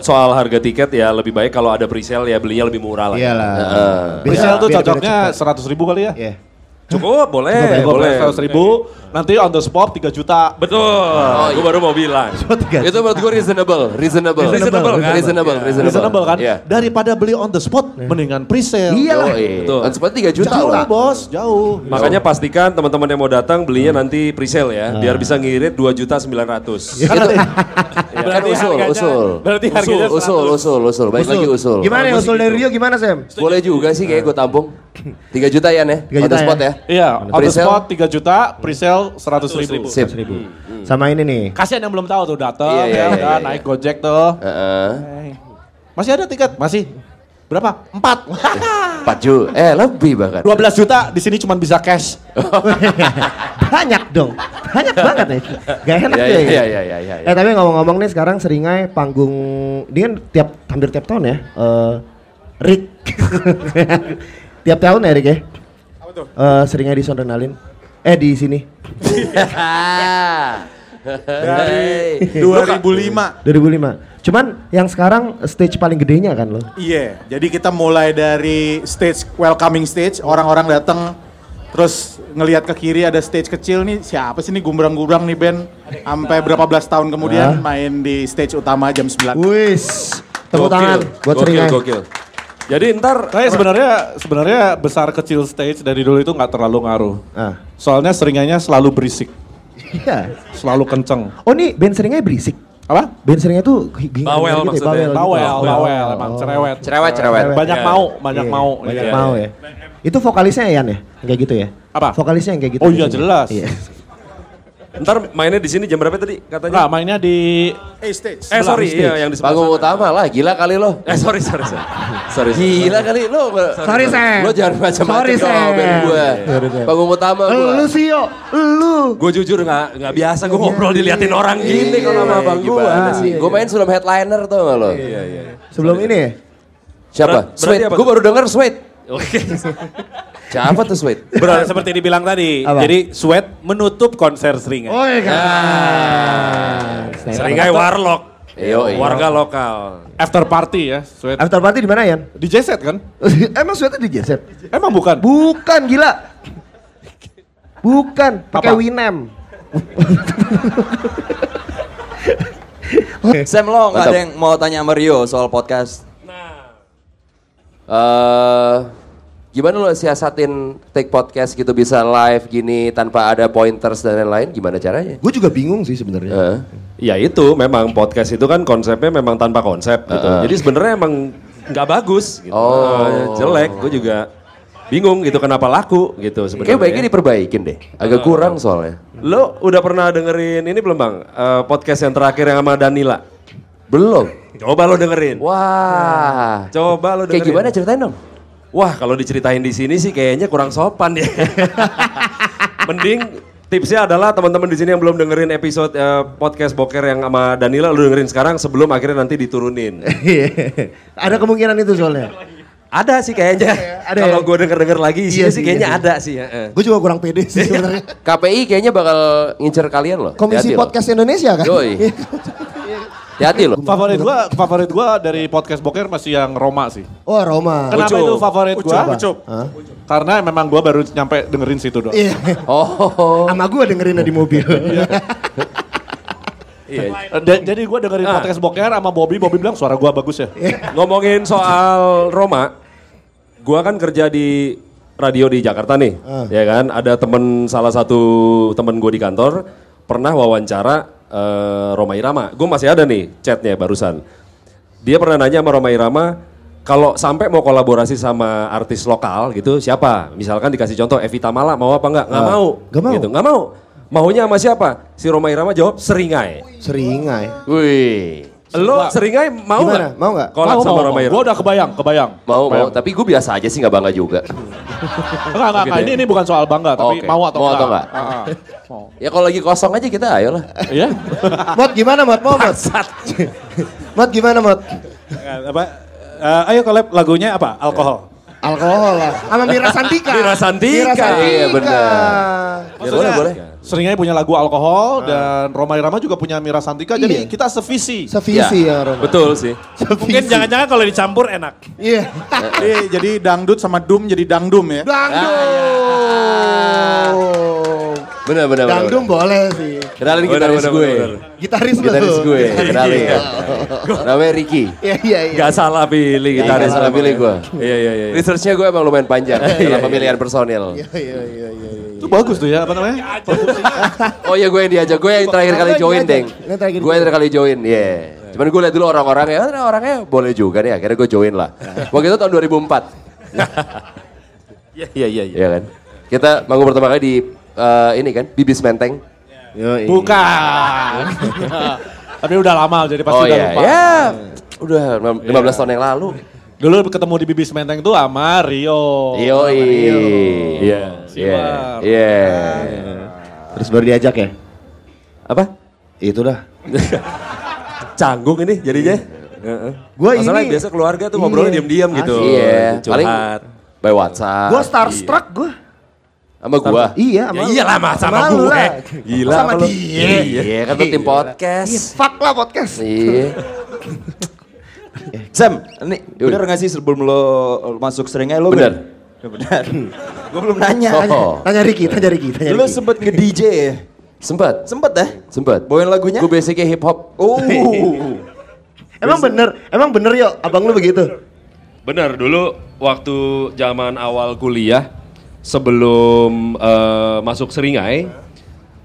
S7: Soal harga tiket ya lebih baik kalau ada pre-sale ya belinya lebih murah lah.
S5: Iya.
S3: Iyalah. Biar-
S1: Presale tuh
S3: biar- biar
S1: cocoknya
S3: cepet.
S1: seratus ribu kali ya?
S3: Iya.
S7: Cukup, boleh,
S1: Eh,
S7: boleh.
S1: boleh seratus ribu. Nanti on the spot 3 juta.
S7: Betul. Gue baru mau bilang.
S5: Itu menurut gue reasonable, reasonable.
S7: Reasonable, kan?
S5: Reasonable, reasonable.
S1: Reasonable kan?
S5: Iya.
S1: Daripada beli on the spot,
S2: Iya.
S1: mendingan presale.
S3: Iyalah.
S5: Yoi.
S7: Betul.
S5: Kan sepatu 3 juta
S1: Jauh
S5: lah.
S1: bos, jauh.
S7: Makanya pastikan teman-teman yang mau datang belinya nanti pre-sale ya, biar bisa ngirit 2 juta 900.
S5: Itu,
S7: Iya.
S5: kan usul, usul.
S7: berarti harganya
S5: usul, usul, usul, usul. Baik lagi usul.
S3: Gimana ya usul dari Rio gimana Sam?
S5: Boleh juga sih kayak gue tampung. 3 juta ya, Neh?
S3: 3
S5: On the
S3: juta
S5: spot
S3: ya?
S5: ya?
S1: Iya, on the
S5: Presale?
S1: spot 3 juta, presale 100 ribu.
S5: Sip. Eh, hmm.
S3: Sama ini nih.
S1: Kasihan yang belum tahu tuh dateng,
S5: Iya, iya,
S1: ya,
S5: iya,
S1: udah
S5: iya.
S1: naik gojek tuh.
S5: Heeh.
S1: Masih ada tiket? Masih. Berapa? 4.
S5: 4 juta. Eh, lebih bahkan.
S1: 12 juta di sini cuma bisa cash.
S3: Banyak dong. Banyak banget nih. Gak enak
S5: Iya,
S3: ya.
S5: iya,
S3: ini.
S5: iya, iya, iya, iya.
S3: Eh tapi ngomong-ngomong nih sekarang Seringai panggung dia kan tiap hampir tiap tahun ya. eh Rick. tiap tahun ya Rick ya. Apa tuh? Seringai di Sondrenalin. Eh di sini.
S5: Dari
S6: 2005.
S3: 2005. Cuman yang sekarang stage paling gedenya kan lo.
S6: Iya. Jadi kita mulai dari stage welcoming stage, orang-orang datang terus ngelihat ke kiri ada stage kecil nih siapa sih nih gumbrang-gumbrang nih band sampai berapa belas tahun kemudian main di stage utama jam 9.
S3: Wis. Tepuk
S7: Gokil,
S3: tangan buat
S7: gokil,
S3: Seringai.
S7: Gokil. Jadi ntar
S1: Saya sebenarnya sebenarnya besar kecil stage dari dulu itu nggak terlalu ngaruh.
S3: Ah.
S1: Soalnya seringannya selalu berisik,
S3: Iya.
S1: selalu kenceng.
S3: Oh nih band Seringai berisik.
S1: Apa?
S3: Band Seringai tuh gini- gitu ya,
S7: Bawel maksudnya.
S3: gitu.
S1: Bawel,
S3: Oh.
S1: bawel, emang cerewet.
S5: cerewet, cerewet.
S1: Banyak
S7: Iya.
S1: mau, banyak
S3: Iya,
S1: mau.
S3: Banyak
S1: Iya.
S3: mau ya. Itu vokalisnya Yan ya? Yang Kayak gitu ya?
S1: Apa?
S3: Vokalisnya yang kayak gitu.
S1: Oh iya,
S3: biasanya.
S1: jelas.
S3: Iya.
S7: ntar mainnya di sini jam berapa tadi
S1: Nah,
S7: katanya?
S1: mainnya di
S6: Eh stage.
S7: eh sorry, iya yang di sebelah.
S5: Panggung
S7: sana.
S5: utama lah, gila kali lo.
S7: Eh sorry, sorry, sorry. sorry. sorry.
S5: Gila kali lo.
S3: Sorry, Sam.
S5: Lo jangan macam-macam
S3: Sorry,
S5: dong
S3: Sam.
S5: band gue.
S3: Sorry, Sam.
S5: Panggung utama gue.
S3: Lu sih yo, lu.
S7: Gue jujur nggak nggak biasa
S5: Iya,
S7: gue ngobrol diliatin orang
S5: Gini
S7: gini
S5: kalau sama abang gue.
S7: Iya, Gimana sih?
S5: Gue main sebelum headliner tuh lo.
S3: Sebelum ini ya?
S5: Siapa?
S7: Berat- berarti
S5: Sweet.
S7: apa
S5: Gue
S7: tuh?
S5: baru denger Sweet.
S7: Oke.
S5: Siapa tuh Sweet?
S11: Benar seperti dibilang tadi.
S3: Apa?
S11: Jadi Sweat menutup konser Seringai.
S3: Oh iya.
S7: Ya. Seringai warlock.
S5: Iya, iya.
S7: Warga lokal.
S1: after party ya, sweat.
S3: After party di mana Yan?
S1: Di J-Set kan?
S3: Emang suetnya di Jesset?
S1: Emang bukan?
S3: Bukan gila. Bukan, pakai
S1: Apa?
S3: Winem.
S10: Sam lo nggak
S5: Mantap.
S10: ada yang mau tanya sama Rio soal podcast.
S5: Eh, gimana lo siasatin take podcast gitu bisa live gini tanpa ada pointers dan lain-lain? Gimana caranya?
S3: Gue juga bingung sih sebenarnya.
S5: Eh,
S7: Ya itu memang podcast itu kan konsepnya memang tanpa konsep gitu. Jadi sebenarnya emang nggak bagus gitu.
S5: Oh.
S7: Eh, jelek, gue juga bingung gitu kenapa laku gitu
S5: Kayaknya baiknya
S7: sebenarnya.
S5: diperbaikin deh.
S7: Eh,
S5: Agak kurang soalnya.
S7: Lo udah pernah dengerin ini belum Bang? Eh, podcast yang terakhir yang sama Danila.
S5: Belum.
S7: Coba lo dengerin.
S5: Wah.
S7: Eh. Coba lo dengerin.
S5: Kayak gimana ceritain dong?
S7: Wah, kalau diceritain di sini sih kayaknya kurang sopan ya. Mending Tipsnya adalah teman-teman di sini yang belum dengerin episode eh, podcast Boker yang sama Danila lu dengerin sekarang sebelum akhirnya nanti diturunin.
S3: Eh. Ada kemungkinan itu soalnya.
S7: Ada sih kayaknya.
S3: Ada ya?
S7: Kalau gue denger-denger lagi
S3: Iya
S7: isinya sih
S3: sih,
S7: kayaknya
S3: iya sih.
S7: ada sih. heeh.
S3: Gue juga kurang pede sih sebenarnya.
S7: Eh.
S5: KPI kayaknya bakal ngincer kalian loh.
S3: Komisi
S5: Hati-hati loh.
S3: Podcast Indonesia kan?
S5: Yoi. Hati-hati loh.
S1: Favorit gua, favorit gua dari podcast boker masih yang Roma sih.
S3: Oh Roma.
S1: Kenapa
S7: Ucup.
S1: itu favorit gua?
S3: Ucup. Hah?
S1: Karena memang gua baru nyampe dengerin situ doang.
S3: Iya.
S5: Oh.
S3: Sama gue dengerinnya di mobil.
S5: Iya.
S1: Da- Eh, Jadi gua dengerin
S7: Ah.
S1: podcast boker sama Bobby, Bobby bilang suara gua bagus ya.
S7: Ngomongin soal Roma, gua kan kerja di radio di Jakarta nih,
S3: Ah.
S7: ya kan? Ada temen salah satu temen gue di kantor pernah wawancara eh, Roma Irama. Gue masih ada nih chatnya barusan. Dia pernah nanya sama Roma Irama kalau sampai mau kolaborasi sama artis lokal gitu siapa? Misalkan dikasih contoh Evita Mala mau apa enggak? Nggak
S3: Ah,
S7: mau.
S3: nggak mau.
S7: Gitu, nggak mau. Maunya sama siapa? Si Roma Irama jawab Seringai.
S3: Seringai.
S5: Wih.
S7: Lo Seringai mau
S3: Gimana?
S7: nggak?
S3: Mau nggak?
S7: Kolab
S1: Mau,
S7: sama
S1: mau,
S7: Roma
S1: mau.
S7: Irama.
S1: Gua udah kebayang, kebayang.
S5: Mau mau, tapi gue biasa aja sih nggak bangga juga.
S1: Enggak, enggak, enggak. Ini, ini bukan soal bangga, tapi
S5: Oke.
S1: mau atau
S5: Mau
S1: enggak.
S5: atau enggak?
S1: Ah, ah.
S5: Ya kalau lagi kosong aja kita ayolah.
S1: Iya.
S3: Mot gimana Mot? Mau Mot? Mot gimana Mot?
S12: apa? Eh, ayo collab lagunya apa? Alkohol.
S3: Alkohol lah. Sama Mira Santika.
S7: Mira Santika.
S5: Iya, Ya boleh
S1: Maksudnya
S5: boleh.
S1: Seringnya punya lagu
S12: Ah.
S1: alkohol dan Roma Irama juga punya Mira Santika. Jadi
S3: Iya.
S1: kita sevisi.
S3: Sevisi ya, Roma.
S7: Betul sih.
S3: Sevisi.
S13: Mungkin jangan-jangan kalau dicampur enak.
S3: Iya.
S12: Jadi, jadi dangdut sama doom jadi dangdum ya.
S3: Dangdum.
S5: Benar benar. benar,
S3: Dangdum
S5: benar.
S3: boleh sih.
S5: Kenalin
S7: Benar,
S5: gitaris
S7: benar,
S5: gue.
S7: benar,
S3: Gitaris lu.
S5: Gitaris gue. Kenalin. ya. Namanya Ricky.
S3: Iya iya iya.
S7: Gak salah pilih
S5: Gak
S7: gitaris
S5: salah
S7: namanya.
S5: pilih gua.
S7: Iya iya iya.
S5: Researchnya gue emang lumayan panjang dalam pemilihan personil.
S1: Itu bagus tuh ya, apa namanya?
S5: Oh iya gue yang diajak, gue yang terakhir kali
S3: Lo
S5: join,
S3: diajak.
S5: Deng.
S3: Lo terakhir
S5: Gue yang terakhir kali join, iya. Cuman gue liat dulu orang-orang ya, "Ah, orangnya boleh juga nih, akhirnya gue join lah. Waktu itu tahun 2004.
S7: Iya iya iya.
S5: Iya kan? Kita manggung pertama kali di eh, ini kan, Bibis Menteng.
S3: Yoi.
S1: Bukan. Tapi udah lama jadi pasti
S5: oh
S1: udah
S5: iya,
S1: lupa.
S5: ya. Udah 15 tahun yang lalu.
S1: Dulu ketemu di Bibis Menteng tuh sama Rio.
S5: Yoi. Oh, Iya. Iya.
S1: Sibar.
S5: Iya.
S3: Terus baru diajak ya?
S7: Apa?
S3: Itulah.
S7: Canggung ini jadinya.
S5: Iya.
S7: Heeh.
S3: Gua
S7: Masalahnya
S3: ini-
S7: biasa keluarga tuh
S3: Iya.
S7: ngobrolnya diam-diam gitu.
S5: Iya. Paling
S7: Curhat.
S5: by WhatsApp.
S3: Gue starstruck gue.
S5: sama gua.
S3: Iya,
S7: Ya iyalah sama sama
S3: lu
S7: gue.
S3: lah.
S7: Gila
S3: Sama
S7: apa lu?
S3: dia.
S5: Iya, kan tuh tim
S3: Ih,
S5: podcast.
S3: fuck lah podcast.
S5: Iya.
S6: Sam, ini bener gak sih sebelum lo masuk seringnya lo
S5: Bener.
S6: Ya, Bener. Gue belum nanya.
S5: Oh,
S3: Tanya Ricky, tanya Ricky, tanya
S6: Lo
S3: Ricky.
S6: sempet nge-DJ ya?
S5: sempat.
S6: Sempet ya?
S5: Sempat.
S6: Bawain lagunya?
S5: Gue basicnya hip hop.
S6: Oh.
S3: Emang bener, emang bener yo, abang lu begitu.
S7: Bener dulu waktu zaman awal kuliah sebelum eh, masuk Seringai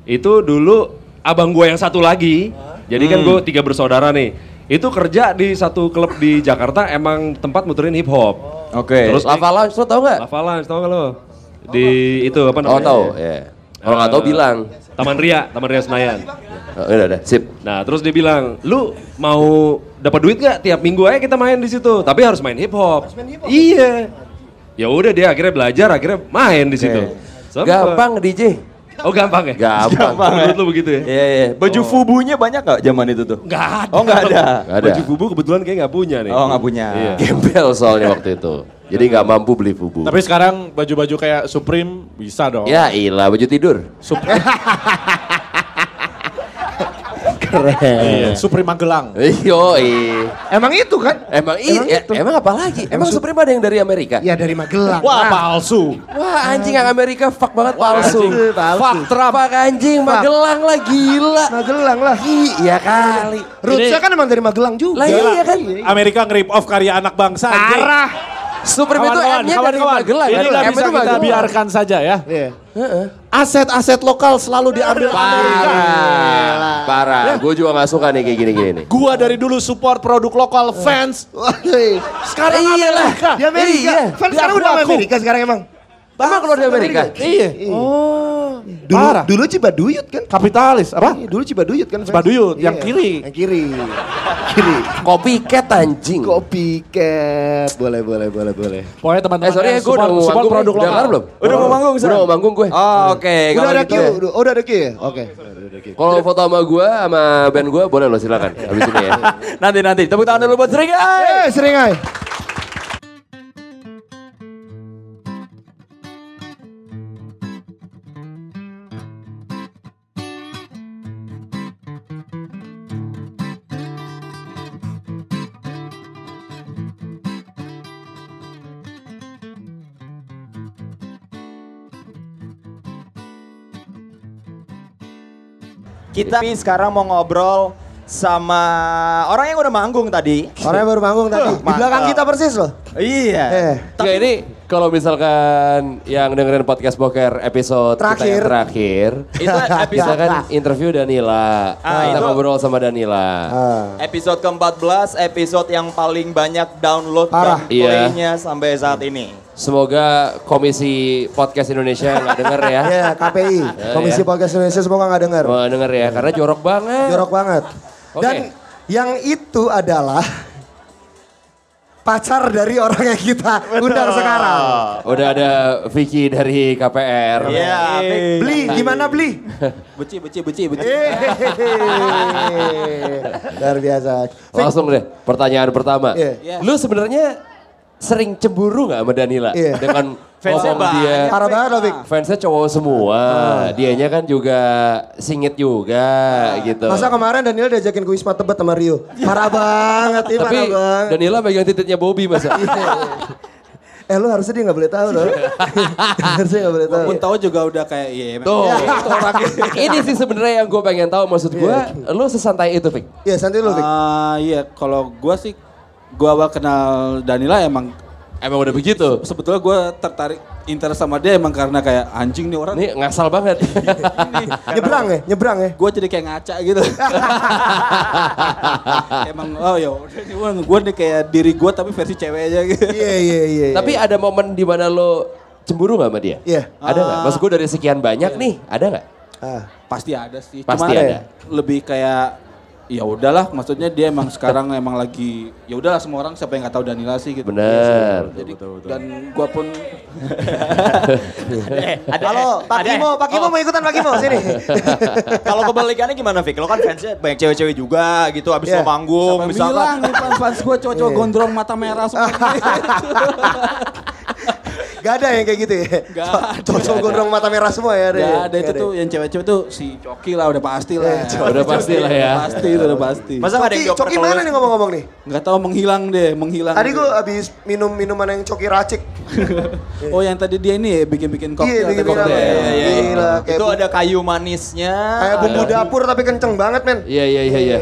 S7: itu dulu abang gue yang satu lagi. Jadi
S5: Hmm.
S7: kan gue tiga bersaudara nih. Itu kerja di satu klub di Jakarta emang tempat muterin hip hop.
S6: Oke.
S7: Terus
S5: Lava Lounge lo tau gak?
S7: Avalanche tau gak lo? Di itu apa
S5: Oh
S7: namanya?
S5: tau, ya. Kalau nggak tau
S7: iya. Eh,
S5: bilang.
S7: Taman Ria, Taman Ria Senayan.
S5: Oh, udah udah, sip.
S7: Nah, terus dia bilang, "Lu mau dapat duit gak tiap minggu aja kita main di situ, tapi harus main hip hop." Iya. Ya udah dia akhirnya belajar, akhirnya main di situ. Sempet.
S5: Gampang DJ.
S7: Oh, gampang ya?
S5: Gampang.
S7: Menurut lu begitu ya?
S6: Iya, iya. Baju fubunya banyak gak zaman itu tuh?
S7: Enggak ada.
S6: Oh nggak ada.
S5: Nggak ada.
S7: Baju bubu kebetulan kayak nggak punya nih.
S6: Oh nggak punya.
S7: Iya.
S5: Gembel soalnya waktu itu. Jadi nggak mampu beli fubu.
S1: Tapi sekarang baju-baju kayak Supreme bisa dong.
S5: Ya ilah baju tidur.
S3: Keren.
S1: Iya, Supreme Magelang.
S5: Yoi.
S3: Emang itu kan?
S5: Emang i,
S3: Emang
S5: ya,
S3: itu.
S5: emang apa lagi? Emang Supreme ada yang dari Amerika?
S3: Ya dari Magelang.
S1: Wah
S3: Nah,
S1: palsu.
S5: Wah anjing yang Amerika fuck banget palsu. Fuck Trump. Fuck anjing Magelang lah gila.
S3: Magelang lah.
S5: Iya kali.
S3: Rootsnya kan emang dari Magelang juga.
S5: Lah iya kan.
S13: Amerika nge-rip off karya anak bangsa. anjing.
S3: Parah.
S5: Supreme itu
S13: Kawan-kawan,
S5: M-nya dari
S13: kawan-kawan.
S5: Magelang.
S13: Ini
S5: kan?
S13: nggak
S5: M
S13: bisa
S5: itu
S13: kita
S5: Magelang.
S13: biarkan saja ya.
S3: Iya.
S1: Aset-aset lokal selalu diambil Amerika.
S5: Parah. Parah. Gue juga nggak suka nih kayak gini-gini nih.
S1: Gua dari dulu support produk lokal fans. Sekarang
S5: Iyalah.
S1: Amerika.
S3: Di Amerika.
S5: Iya.
S3: Kan sekarang
S1: Aku
S3: udah sama
S1: aku.
S3: Amerika sekarang emang.
S5: Bahkan keluar dari Amerika.
S1: Iya.
S3: Oh.
S1: Dulu,
S4: Parah.
S1: dulu Cibaduyut kan?
S4: Kapitalis, apa?
S1: Iya, dulu Cibaduyut kan? Fans?
S4: Cibaduyut, yang
S1: Iya,
S4: kiri.
S1: Yang kiri. kiri.
S5: Kopi cat anjing.
S1: Kopi cat. Boleh, boleh, boleh, boleh.
S14: Pokoknya teman-teman
S5: Eh sorry ya, gue udah mau manggung.
S14: produk
S5: nih. Udah
S14: lokal.
S5: kelar belum?
S6: Udah mau manggung, Sar?
S5: Udah mau manggung gue.
S6: Oh, oke.
S1: Udah
S6: kalau
S1: ada
S6: gitu
S1: Q, udah, oh, udah ada Q ya? Oke. Udah ada Q.
S5: Kalau foto sama gue, sama band gue, boleh lo silakan. Habis ini ya.
S6: Nanti nanti tepuk tangan dulu buat Seringai.
S1: Eh, seringai.
S6: Kita sekarang mau ngobrol sama orang yang udah manggung tadi.
S3: Orangnya baru bangun tadi. Di
S6: mantap.
S3: belakang kita persis loh.
S6: Iya.
S5: Enggak ini kalau misalkan yang dengerin podcast poker episode kita yang
S3: Terakhir.
S5: terakhir
S6: Itu
S5: kita
S6: episode
S5: kan interview Danila.
S6: Ah,
S5: kita
S6: itu-
S5: ngobrol sama Danila.
S3: Ah.
S6: episode ke-14, episode yang paling banyak download dan
S5: Iya.
S6: play-nya sampai saat ini.
S5: Semoga komisi podcast Indonesia nggak denger ya.
S3: Iya, KPI. Komisi
S5: iya.
S3: Podcast Indonesia semoga nggak dengar.
S5: Mau denger ya karena jorok banget.
S3: Jorok banget.
S5: Oke.
S3: Dan yang itu adalah pacar dari orang yang kita undang sekarang.
S5: Udah ada Vicky dari KPR.
S6: Iya, Vic.
S3: Beli, gimana beli?
S6: beci beci beci beci.
S3: Eh. Hehehe. Luar biasa.
S5: Langsung deh pertanyaan pertama.
S3: Iya.
S6: Iya.
S5: Lu sebenarnya sering cemburu nggak sama Danila
S3: Iya.
S5: dengan
S6: Fansnya
S5: ngomong dia
S6: banyak.
S3: Parah banget Ah. loh, Vic.
S5: fansnya cowok semua. Dianya kan juga singit juga gitu.
S3: Ah. Masa kemarin Daniel diajakin ke Wisma Tebet sama Rio. Parah banget, ini parah
S5: Tapi
S3: banget.
S5: Danila pegang titiknya Bobby masa.
S3: Iya. Eh lu harusnya dia gak boleh tahu loh. harusnya gak boleh tahu.
S6: Pun tahu juga udah kayak iya.
S5: Tuh, itu orangnya. Ini sih sebenarnya yang gue pengen tahu maksud gue, lu sesantai itu, Vic.
S3: Iya santai lu Vic.
S14: Ah iya, kalau gua sih gua awal kenal Danila emang
S5: Emang udah begitu.
S14: sebetulnya gua tertarik interest sama dia emang karena kayak anjing nih orang.
S5: Ini ngasal banget.
S3: Nyebrang ya, nyebrang ya.
S14: Gua jadi kayak ngaca gitu. emang oh ya, gue nih kayak diri gua tapi versi cewek aja gitu.
S3: Iya, iya, iya.
S5: Tapi ada momen di mana lu cemburu gak sama dia?
S3: Iya.
S5: Ada nggak? Maksud gue dari sekian banyak nih, ada nggak?
S3: Ah.
S14: Pasti ada sih.
S5: Pasti
S14: Cuman
S5: ada.
S14: Lebih kayak ya udahlah, maksudnya dia emang sekarang emang lagi ya udahlah semua orang siapa yang nggak tahu Danila sih gitu.
S5: Bener.
S14: Jadi dan gua pun
S3: Halo, Pak Kimo, Pak Kimo mau ikutan Pak Kimo sini.
S6: Kalau kebalikannya gimana, Vic? Lo kan fansnya banyak cewek-cewek juga gitu, abis lo
S3: Iya.
S6: manggung,
S14: bilang
S6: misalkan.
S14: nih fans gua cowok-cowok gondrong mata merah seperti
S3: Gak ada yang kayak gitu ya.
S14: Gak
S3: Co-
S14: ada.
S3: Cocok gondrong mata merah semua ya.
S14: Gak ada itu
S3: Gak
S14: tuh yang cewek-cewek tuh si Coki lah udah pasti lah.
S5: Udah pasti lah ya.
S14: Udah Pasti itu udah pasti.
S6: Masa nggak ada yang
S3: Coki,
S6: dioper
S3: Coki
S6: kalau
S3: mana
S6: lo-
S3: nih ngomong-ngomong nih?
S14: Nggak tahu menghilang deh, menghilang.
S3: Tadi
S14: gitu.
S3: gue abis minum minuman yang coki racik.
S14: Oh yang tadi dia ini ya bikin-bikin koktail.
S3: bikin
S14: koktail.
S3: apa ya?
S6: Iya, iya, iya.
S3: Gila, kayak
S6: Itu
S3: bu-
S6: ada kayu manisnya.
S2: Ah,
S3: Kayak bumbu
S6: ada-
S3: dapur tapi kenceng banget men.
S5: Iya, iya, iya, iya.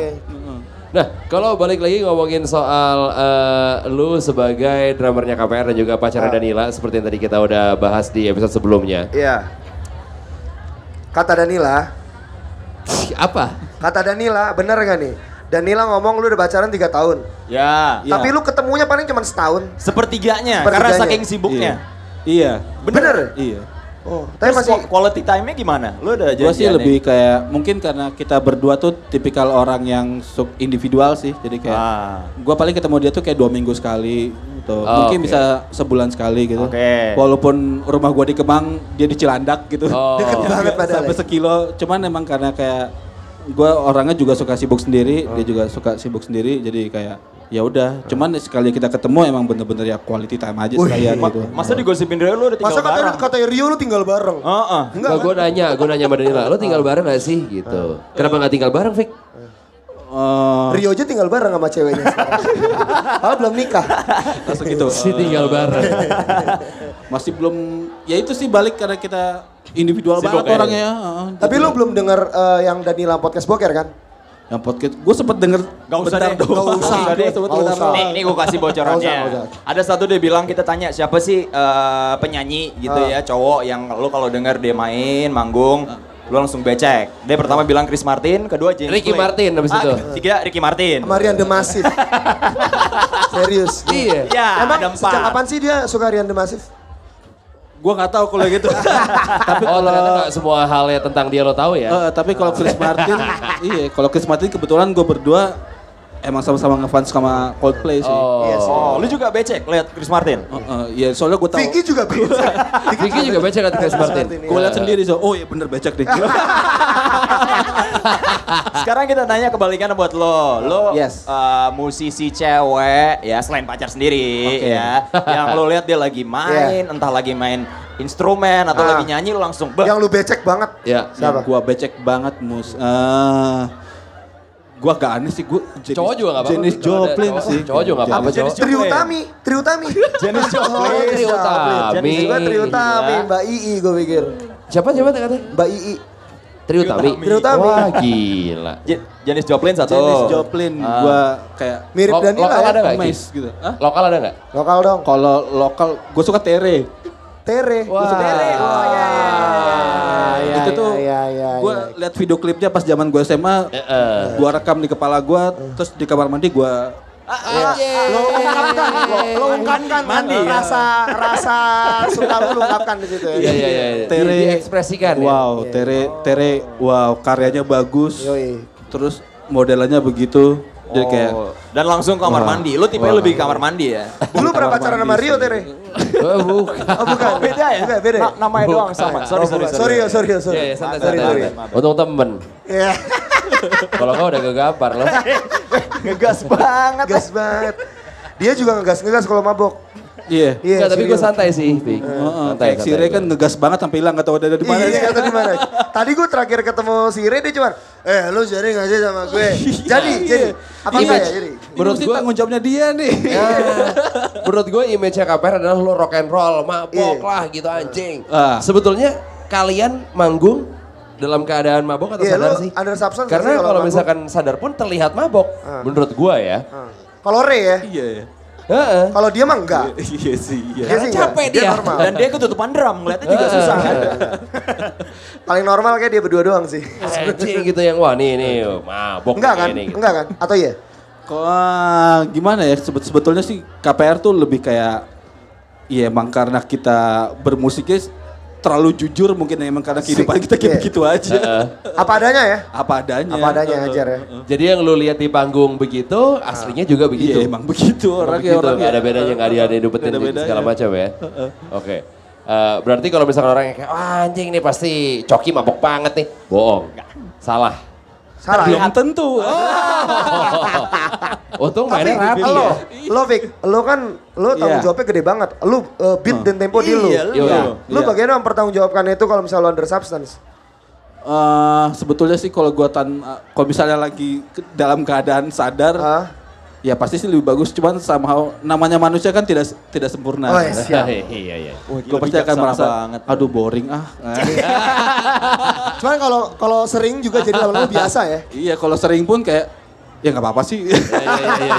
S5: Nah, kalau balik lagi ngomongin soal eh, lu sebagai drummernya KPR dan juga pacarnya Danila, seperti yang tadi kita udah bahas di episode sebelumnya.
S3: Iya. Kata Danila,
S5: Apa?
S3: kata Danila bener gak nih? Danila ngomong lu udah pacaran 3 tahun.
S6: Ya.
S14: Iya.
S3: Tapi lu ketemunya paling cuma setahun.
S6: Sepertiganya,
S3: Sepertiganya.
S6: karena saking sibuknya.
S14: Iya.
S3: Bener?
S14: Iya.
S3: Oh, tapi
S6: Terus
S3: masih
S6: masih... quality time-nya gimana? Lo udah
S14: Gue sih
S6: janjian
S14: lebih kayak mungkin karena kita berdua tuh tipikal orang yang sub individual sih, jadi kayak
S6: Ah.
S14: gue paling ketemu dia tuh kayak dua minggu sekali, gitu.
S5: Oh, oke.
S14: mungkin
S5: Oh.
S14: bisa sebulan sekali gitu.
S6: Oke.
S14: Walaupun rumah gue di Kemang, dia di Cilandak gitu.
S5: Oh. Deket
S3: banget padahal
S14: Sampai
S3: ya.
S14: sekilo, cuman emang karena kayak gue orangnya juga suka sibuk sendiri,
S5: Oh.
S14: dia juga suka sibuk sendiri, jadi kayak ya udah. Cuman sekali kita ketemu emang bener-bener ya quality time aja sekalian
S6: Ma-
S14: gitu.
S6: Masa digosipin dari lo udah tinggal
S3: masa kata
S6: bareng?
S3: kata Rio lu tinggal bareng.
S14: Ah.
S6: Heeh.
S5: Enggak, gue nanya, gue nanya sama Danila, lu tinggal bareng gak sih? Gitu. Kenapa gak tinggal bareng, Vic?
S14: Eh,
S3: Rio aja tinggal bareng sama ceweknya sekarang. Padahal belum nikah.
S14: langsung gitu.
S5: Si tinggal bareng.
S14: masih belum ya itu sih balik karena kita individual banget orangnya
S6: Ah,
S14: ya. heeh.
S6: gitu.
S3: Tapi lu belum dengar eh, yang Danila podcast boker kan?
S14: yang podcast gue sempet denger
S6: Gak usah
S14: bentar
S6: deh,
S14: doang.
S6: gak usah
S14: Gua
S6: deh.
S14: sempet
S3: Gak
S14: bentar
S3: usah.
S14: doang.
S6: Nih, nih gue kasih bocorannya.
S3: Gak usah, gak
S6: Ada satu dia bilang kita tanya siapa sih eh, penyanyi gitu
S3: Ah.
S6: ya cowok yang lo kalau denger dia main manggung
S14: Ah.
S6: lo langsung becek. Dia pertama bilang Chris Martin, kedua James
S5: Ricky
S6: Blake.
S5: Martin abis
S6: Ah,
S5: itu.
S6: Tiga Ricky Martin.
S3: Sama Rian The Massive. Serius.
S5: Iya.
S6: Iya,
S3: Emang
S6: Ya, ada empat.
S3: sejak kapan sih dia suka Rian The Massive?
S14: Gua nggak tahu kalau gitu.
S5: Tapi oh ternyata nggak semua hal ya tentang dia lo tahu ya.
S14: Eh, tapi kalau Chris Martin, iya, kalau Chris Martin kebetulan gue berdua emang sama-sama ngefans sama Coldplay sih.
S5: Oh.
S14: Iya sih.
S6: Oh, lu juga becek lihat Chris Martin.
S14: Eh, eh, iya, soalnya gue tahu.
S3: Vicky juga bisa.
S5: Vicky juga baca kan Chris Martin.
S14: Gue lihat sendiri so, oh iya bener becek deh.
S6: Sekarang kita nanya kebalikan buat lo. Lo
S14: Yes.
S6: eh, musisi cewek ya selain pacar sendiri
S14: Oke. Iya.
S6: ya. Yang lo lihat dia lagi main, entah lagi main instrumen atau
S3: Ah.
S6: lagi nyanyi lo langsung "Beh,
S3: Yang lu becek banget.
S14: Iya.
S5: Ya.
S3: Siapa?
S14: Yang Gua becek banget mus. eh gua gak aneh sih, gua jenis,
S5: Cowok juga nggak apa-apa.
S14: Jenis
S5: Kalau ada
S14: Joplin
S5: cowok-
S14: sih.
S5: cowok juga nggak apa-apa,
S14: Jenis-
S5: cowok.
S3: Triutami, Triutami. Jenis Iya.
S5: Oh, Triutami.
S3: Gue Triutami, Mbak Ii gue pikir.
S5: Siapa siapa katanya?
S3: Mbak Ii.
S5: Triutami.
S3: Triutami.
S5: Wah gila.
S6: J- Janis Joplin satu.
S14: Jenis
S5: Oh.
S14: Joplin,
S5: Ah.
S14: gua kayak
S3: Mirip
S5: Lo-
S3: Danila
S5: lokal
S3: ya.
S5: ada nggak? Ki?
S14: mes gitu. Hah?
S5: Lokal ada nggak?
S3: Lokal dong.
S14: Kalau lokal, gua suka Tere.
S3: Tere. Wah. Tere. Oh, iya, iya, iya.
S14: itu tuh
S3: Iya, iya,
S14: gue
S3: iya.
S14: lihat video klipnya pas zaman gue SMA
S5: Eh,
S14: gue rekam di kepala gue terus di kamar mandi gue
S3: Lo ungkapkan, lo, lo ungkapkan kan rasa rasa suka lo ungkapkan di situ
S5: Iya
S3: ya.
S5: iya iya. Di-
S14: Tere.
S5: Diekspresikan ya.
S14: wow Tere Tere wow
S5: Iya.
S14: karyanya bagus
S3: Yoi.
S14: terus modelannya begitu jadi kayak Ah. Iya.
S6: Oh, Dan langsung ke kamar mandi. Lo tipe lebih ke kamar mandi ya.
S3: Dulu pernah pacaran sama Rio Tere?
S5: Oh, bukan.
S3: Oh bukan.
S6: beda ya?
S3: Bukan, beda.
S6: Na- namanya doang sama. Sorry,
S3: Oh,
S6: sorry,
S3: bukan.
S6: sorry.
S3: ya, sorry, ya, sorry.
S5: Iya, iya, santai,
S3: Sorry,
S5: santai,
S3: sorry.
S5: santai. Untung temen.
S3: Iya,
S5: Kalau kau udah gegapar loh.
S6: Ngegas banget. eh.
S3: gas banget. Dia juga ngegas-ngegas kalau mabok.
S14: iya
S5: Enggak, tapi gue
S3: serius.
S5: santai sih, Pik.
S14: Heeh, kayak si Ray kan ngegas banget sampai hilang gak tau ada di mana
S3: Iya,
S14: dia.
S3: kata di mana? Tadi gue terakhir ketemu si Ire dia cuma, eh lu jadi nggak sih sama gue? Jadi, jadi. Apa enggak ya jadi?
S14: Iya. Menurut gue tanggung jawabnya dia nih.
S5: Ya. Menurut gue image-nya KPR adalah lo rock and roll, mabok lah gitu anjing.
S14: Ah.
S5: Sebetulnya kalian manggung dalam keadaan mabok atau
S3: Iya,
S5: sadar
S3: lu
S5: sih?
S3: under substance nggak sih
S5: Karena
S3: kalau
S5: kalau
S3: mabok?
S5: misalkan sadar pun terlihat mabok, menurut gue ya.
S3: Ah. Kalau Re ya,
S14: Iya ya.
S5: Heeh.
S3: kalau dia mah enggak.
S14: Iya sih. Iya. Eh.
S3: Dia sih enggak.
S5: capek
S3: Dia
S5: dia.
S3: normal.
S6: Dan dia ketutupan drum, ngeliatnya juga susah kan.
S3: Paling normal kayak dia berdua doang sih.
S5: Anjing gitu yang wah nih nih mabok
S3: Enggak
S5: nih,
S3: kan?
S5: nih, gitu.
S3: Enggak kan? Atau iya?
S14: Kok gimana ya sebet- sebetulnya sih KPR tuh lebih kayak ya emang karena kita bermusiknya s- terlalu jujur mungkin ya, emang karena kehidupan kita
S3: Iya.
S14: kayak begitu aja.
S3: Apa adanya ya?
S14: Apa adanya.
S3: Apa adanya ajar ya.
S5: Jadi yang lu lihat di panggung begitu,
S3: Ah.
S5: aslinya juga begitu.
S14: Iya emang begitu
S5: Orang
S14: orangnya
S5: begitu,
S14: orang
S5: nggak ada bedanya, nggak ada ada diupetin
S14: Nggak ada bedanya.
S5: segala macam ya. Oke. Eh, berarti kalau misalkan orang yang kayak, wah anjing nih pasti coki mabok banget nih. Bohong. Salah.
S3: Salah. ya?
S14: Belum tentu.
S5: Untung
S3: Tapi gitu
S5: mainnya rapi
S3: lo,
S5: ya.
S3: lo Vic, lo kan lo tanggung
S14: Iya.
S3: jawabnya gede banget. Lo uh, beat dan tempo di lo.
S14: Iya,
S5: Yo,
S14: Iya.
S5: yo.
S3: Lo
S14: Iya.
S3: bagaimana mempertanggungjawabkan itu kalau misalnya lo under substance?
S14: Eh, sebetulnya sih kalau gua tan ah, kalau misalnya lagi ke- dalam keadaan sadar
S3: Ah.
S14: ya pasti sih lebih bagus cuman somehow namanya manusia kan tidak tidak sempurna.
S3: Oh, iya. siap.
S5: iya, iya.
S14: Gue pasti akan merasa aduh boring ah.
S3: Cuman kalau kalau sering juga jadi lawan lo biasa ya.
S14: Iya, kalau sering pun kayak ya nggak apa-apa sih.
S5: Iya,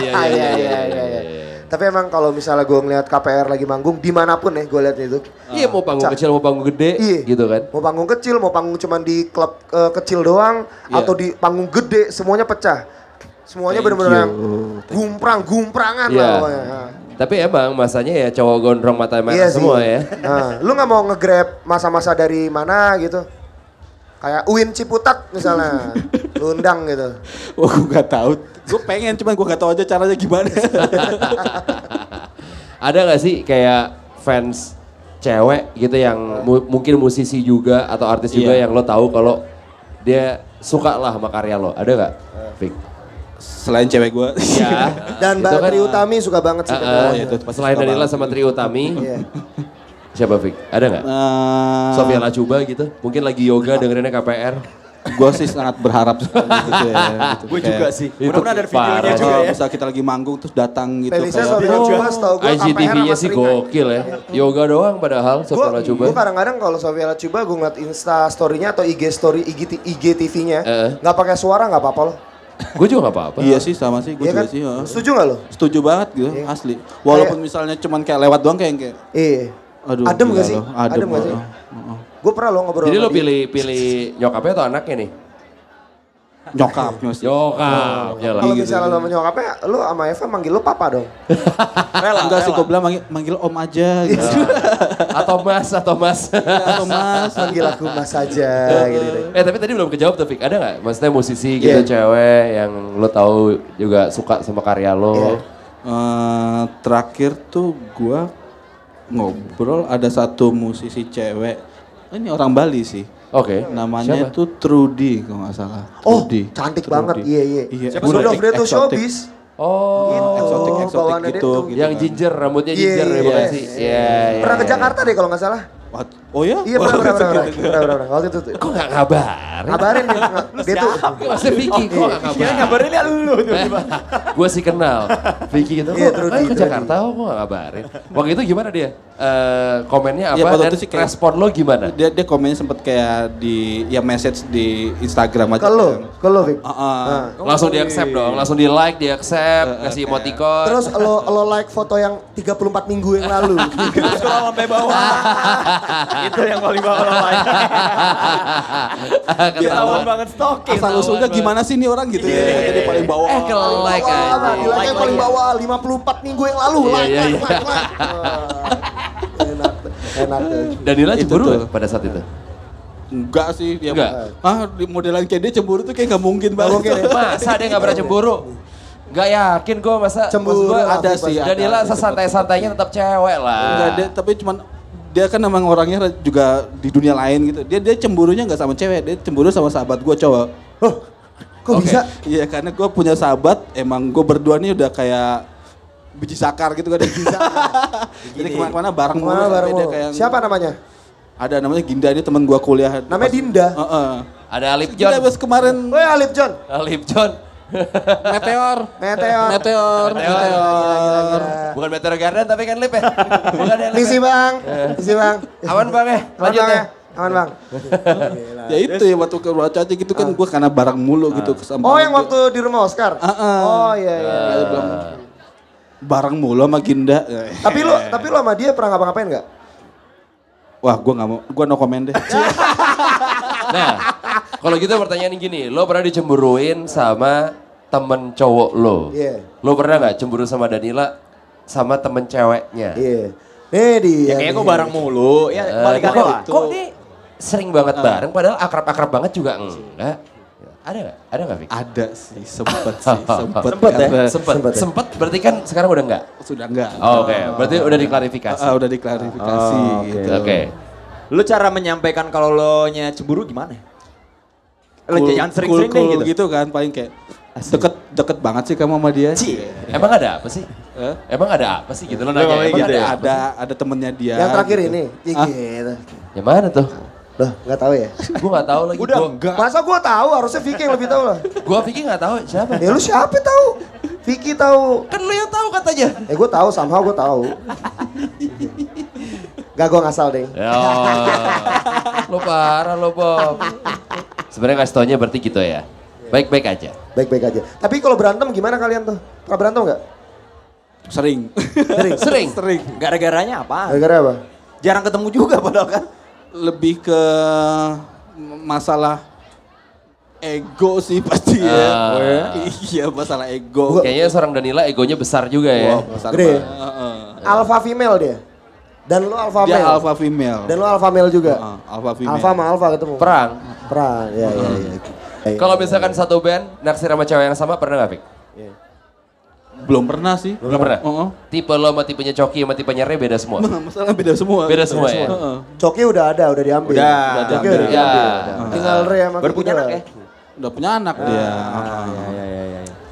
S5: iya,
S3: Ah,
S5: iya,
S3: iya, iya, iya, iya. Tapi emang kalau misalnya gue ngeliat KPR lagi manggung, dimanapun ya gue liat itu.
S5: Iya mau panggung kecil, mau panggung gede,
S3: Iya.
S5: gitu kan.
S3: Mau panggung kecil, mau panggung cuman di klub eh, kecil doang, atau di panggung gede, semuanya pecah. Semuanya bener-bener yang gumprang-gumprangan lah
S5: Iya.
S3: pokoknya. Ah.
S5: Tapi emang masanya ya cowok gondrong mata merah
S3: Iya sih.
S5: semua ya.
S3: Nah, lu nggak mau nge-grab masa-masa dari mana gitu? Kayak Uin Ciputat misalnya, lu undang gitu.
S14: Wah, gue nggak tahu. Gue pengen, cuman gue nggak tahu aja caranya gimana.
S3: Iya.
S5: Ada nggak sih kayak fans cewek gitu yang mu- mungkin musisi juga atau artis juga
S14: Iya.
S5: yang lo tahu kalau dia suka lah sama karya lo, ada nggak?
S14: Eh.
S5: Fik.
S14: Selain cewek gue.
S6: Iya.
S5: Ya.
S3: Dan
S5: itu
S3: Mbak
S5: kan-
S3: Tri Utami suka banget sih.
S5: Heeh.
S14: Oh, iya, itu pasti
S5: Eh, Selain
S14: suka
S5: Danila
S14: banget.
S5: sama Tri Utami,
S3: Iya.
S5: siapa Fik? Ada nggak?
S14: Eh.
S5: Sofia Lacuba gitu, mungkin lagi yoga dengerinnya KPR.
S14: gue sih sangat berharap sekali gitu ya. Gitu.
S6: Gue juga sih.
S5: Itu
S6: Mudah-mudahan ada videonya
S5: parah.
S6: juga
S14: Kalau
S6: ya.
S14: misalnya kita lagi manggung terus datang gitu.
S3: Felisa
S14: kayak-
S3: soalnya cuma
S14: Oh,
S3: setau gue
S5: IGTV-nya sih gokil
S14: Iya,
S5: ya. Yoga doang padahal
S3: Gue
S5: Sofia Lacuba.
S3: kadang-kadang kalau Sofia Lacuba gue ngeliat Insta story-nya atau IG story IG, TV-nya
S5: Heeh.
S3: nggak pakai suara nggak apa-apa loh.
S5: Gue juga nggak apa-apa.
S14: Iya sih sama sih, gue
S3: Iya kan?
S14: juga sih. ya.
S3: Setuju nggak lo?
S14: Setuju banget gitu, asli. Walaupun misalnya cuman kayak lewat doang kayak kayak.
S3: Iya.
S14: Aduh,
S3: adem
S14: gila
S3: gak sih?
S14: loh, Adem,
S3: gak sih?
S14: heeh, heeh.
S3: Gue pernah lo ngobrol
S5: Jadi
S3: sama
S5: lo
S3: dia.
S5: pilih pilih nyokapnya atau anaknya nih?
S14: Nyokap nyusul.
S7: Nyokap, iyalah.
S3: Kalau misalnya lo sama nyokapnya, lo sama Eva manggil lo papa dong.
S14: Enggak sih gue bilang manggil, manggil om aja gitu.
S5: Atau mas, atau mas.
S14: Atau mas.
S3: Manggil aku mas aja gitu. gitu.
S5: eh tapi tadi belum kejawab Taufik, ada nggak? Maksudnya musisi gitu
S3: Iya.
S5: cewek yang lo tahu juga suka sama
S3: Iya.
S5: karya lo.
S14: Eh, terakhir tuh gua ngobrol ada satu musisi cewek. Ini orang Bali sih.
S5: Oke.
S14: Namanya
S5: Siapa?
S14: itu Trudy kalau nggak salah.
S3: Oh,
S14: Trudy.
S3: cantik
S14: Trudy.
S3: banget. Iya, iya.
S14: Iya.
S3: Siapa Udah dong, dia tuh
S14: Exotic.
S3: showbiz.
S5: Oh,
S14: Eksotik,
S3: Oh,
S14: eksotik
S3: bawaannya dia
S14: gitu,
S3: tuh.
S14: gitu
S5: yang
S14: kan.
S5: ginger, rambutnya
S3: Iya,
S5: ginger ya
S3: iya,
S5: bukan
S3: iya.
S5: sih? Iya, iya.
S3: Pernah ke
S5: iya.
S3: Jakarta deh kalau nggak salah.
S14: What? Oh ya?
S3: Iya, pernah, pernah, pernah, pernah, pernah, pernah. Waktu itu tuh.
S5: Kok nggak kabar?
S3: Kabarin dia, dia tuh.
S5: Maksudnya Vicky, kok nggak kabar?
S6: Kabarin ya lu tiba-tiba.
S5: gue sih kenal Vicky gitu
S3: Iya,
S5: kok
S3: Trudy,
S5: ayo ke
S3: Trudy.
S5: Jakarta oh, kok gak ngabarin waktu itu gimana dia Eh, komennya apa
S14: Ya, waktu
S5: dan
S14: itu sih kayak-
S5: respon lo gimana
S14: Dia dia komennya sempet kayak di ya message di Instagram
S3: Ke
S14: aja.
S3: lo,
S14: kan.
S3: ke lo, Vic.
S14: Ah, ah.
S3: Nah.
S5: langsung di accept dong langsung di like di
S14: Eh,
S5: accept kasih emoticon
S3: Terus lo, lo like foto yang 34 minggu yang lalu.
S6: Terus scroll sampai bawah. Itu yang paling bawah lah. Ketahuan banget stalking.
S14: Asal usulnya gimana sih ini orang
S6: Iya,
S14: gitu ya? Jadi paling bawah.
S5: eh ke like aja
S3: Wah, di like yang paling bawah, 54 minggu yang lalu.
S5: Iya,
S3: Like,
S5: iya,
S3: like,
S5: iya.
S3: like, like. Wah, Enak, tuh, enak. tuh.
S5: Danila
S14: Itu
S5: cemburu ya?
S14: tuh.
S5: nggak pada saat itu
S14: Enggak sih, dia
S5: Enggak.
S14: Ah, di modelan kayak dia cemburu tuh kayak nggak mungkin
S3: Nggak
S14: banget.
S3: mungkin ya?
S5: masa dia gak pernah cemburu Gak yakin gue masa
S3: Cemburu
S5: maksud gua
S14: ada sih, ada.
S5: Danila sesantai-santainya tetap cewek
S14: Enggak,
S5: lah
S14: dia, tapi cuman dia kan emang orangnya juga di dunia lain gitu. Dia dia cemburunya nggak sama cewek, dia cemburu sama sahabat gue cowok.
S3: Huh, kok
S5: Oke.
S3: bisa?
S14: Iya karena gue punya sahabat, emang gue berdua nih udah kayak biji sakar gitu kan. Jadi kemana-mana bareng mulu
S3: Mana
S14: sampai
S3: baru
S14: dia
S3: mau?
S14: kayak
S3: Siapa namanya?
S14: Ada namanya Ginda ini teman gue kuliah.
S3: Namanya
S14: Pas-
S3: Dinda.
S14: Heeh.
S5: ada Alip
S14: Ginda
S5: John
S14: pas kemarin
S3: Woi Alif John,
S5: Alip John
S14: meteor.
S3: Meteor.
S14: Meteor. Meteor.
S5: bukan Meteor Garden tapi kan Lip ya bukan ya Lip
S3: Misi bang, misi bang.
S5: ya? aman bang ya
S3: Aman
S5: lanjut
S3: bang
S5: ya
S3: ya, aman bang.
S14: Ya itu ya waktu ke Raja aja gitu
S3: Ah.
S14: kan gue karena bareng mulu
S6: Ah.
S14: gitu kesamping.
S3: Oh yang waktu di rumah Oscar?
S5: Ah,
S14: Heeh.
S3: Oh iya iya.
S5: Eh,
S14: bareng mulu sama Ginda.
S3: Tapi lu tapi lu sama dia pernah ngapa-ngapain nggak?
S14: Wah, gua nggak mau, gua no comment deh.
S5: Nah, kalau gitu pertanyaan gini, lo pernah dicemburuin sama temen cowok lo?
S3: Iya.
S5: Lo pernah nggak cemburu sama Danila sama temen ceweknya?
S3: Iya. Nih
S6: Ya
S3: dia.
S6: kayaknya
S14: Iya,
S3: nih.
S6: gue bareng mulu. Ya
S5: Eh,
S6: balik
S5: kok,
S6: lah.
S5: kok dia sering banget bareng, padahal akrab-akrab banget juga enggak? Ada nggak? Ada nggak, Vic?
S14: Ada sih, sempet sih, sempet.
S5: Sempet ya? Ah.
S14: karena-
S5: Sempet.
S3: Sempet ya?
S5: Sempet berarti kan sekarang udah enggak?
S14: Sudah enggak.
S5: Oke, berarti udah diklarifikasi.
S14: Ah, udah diklarifikasi gitu.
S5: Oh. Oke.
S6: Lu cara menyampaikan kalau lo nya cemburu gimana? Lo
S14: Cool-
S6: jangan sering-sering deh
S14: cool- cool
S6: gitu.
S14: gitu kan, paling kayak deket deket banget sih kamu sama dia. Iya.
S5: Emang ada apa sih?
S14: Eh?
S5: Emang ada apa sih gitu lo
S6: Emang kayak
S5: nanya? Emang
S6: gitu
S5: ada
S6: ya?
S5: apa
S14: Ada
S5: sih?
S14: ada temennya dia.
S3: Yang terakhir
S14: gitu.
S3: ini, iya
S14: Ah.
S3: gitu.
S5: Yang Ya mana tuh?
S3: Loh nggak tahu ya?
S5: Gue nggak tahu lagi.
S6: Udah
S5: Gua-
S6: enggak.
S3: Masa gue tahu? Harusnya Vicky yang lebih tahu lah.
S5: Gua pikir nggak tahu siapa.
S3: Ya lu siapa tahu? Vicky tahu.
S5: Kan lu yang tahu katanya.
S3: Eh gue tahu, somehow gue tahu. Gak gue ngasal deh.
S5: Ya. lo parah lo Bob. Sebenarnya kasih taunya berarti gitu ya. Baik-baik aja.
S3: Baik-baik aja. Tapi kalau berantem gimana kalian tuh? Pernah berantem nggak?
S14: Sering.
S5: Sering. Sering.
S14: Sering.
S6: Gara-garanya apa?
S3: Gara-gara apa?
S6: Jarang ketemu juga padahal kan.
S14: Lebih ke masalah ego sih pasti ya.
S5: Ah.
S14: Iya, masalah ego.
S5: Kayaknya seorang Danila egonya besar juga ya.
S14: Wah, besar
S3: Gede.
S14: banget. Heeh.
S3: Alpha female dia. Dan lu alpha
S14: Dia
S3: male.
S14: alpha female.
S3: Dan lu alpha male juga.
S14: Heeh, alpha female.
S3: Alpha sama alpha ketemu.
S5: Perang.
S3: Perang. Ya ya ya. Ya,
S5: Kalau
S3: ya.
S5: misalkan satu band naksir sama cewek yang sama pernah nggak, Fik?
S14: Belum pernah sih.
S5: Belum pernah.
S14: Heeh.
S5: Tipe lo sama tipenya Coki sama tipenya Re beda semua.
S3: Iya.
S14: Nah, Masalah beda semua.
S5: Beda semua ya?
S14: Heeh.
S3: Coki udah ada, udah diambil.
S6: Udah,
S3: Coki
S6: udah
S3: udah
S5: Ya.
S3: diambil. Tinggal Re sama
S6: Baru punya anak ya?
S14: Udah punya anak dia.
S6: iya,
S14: Heeh.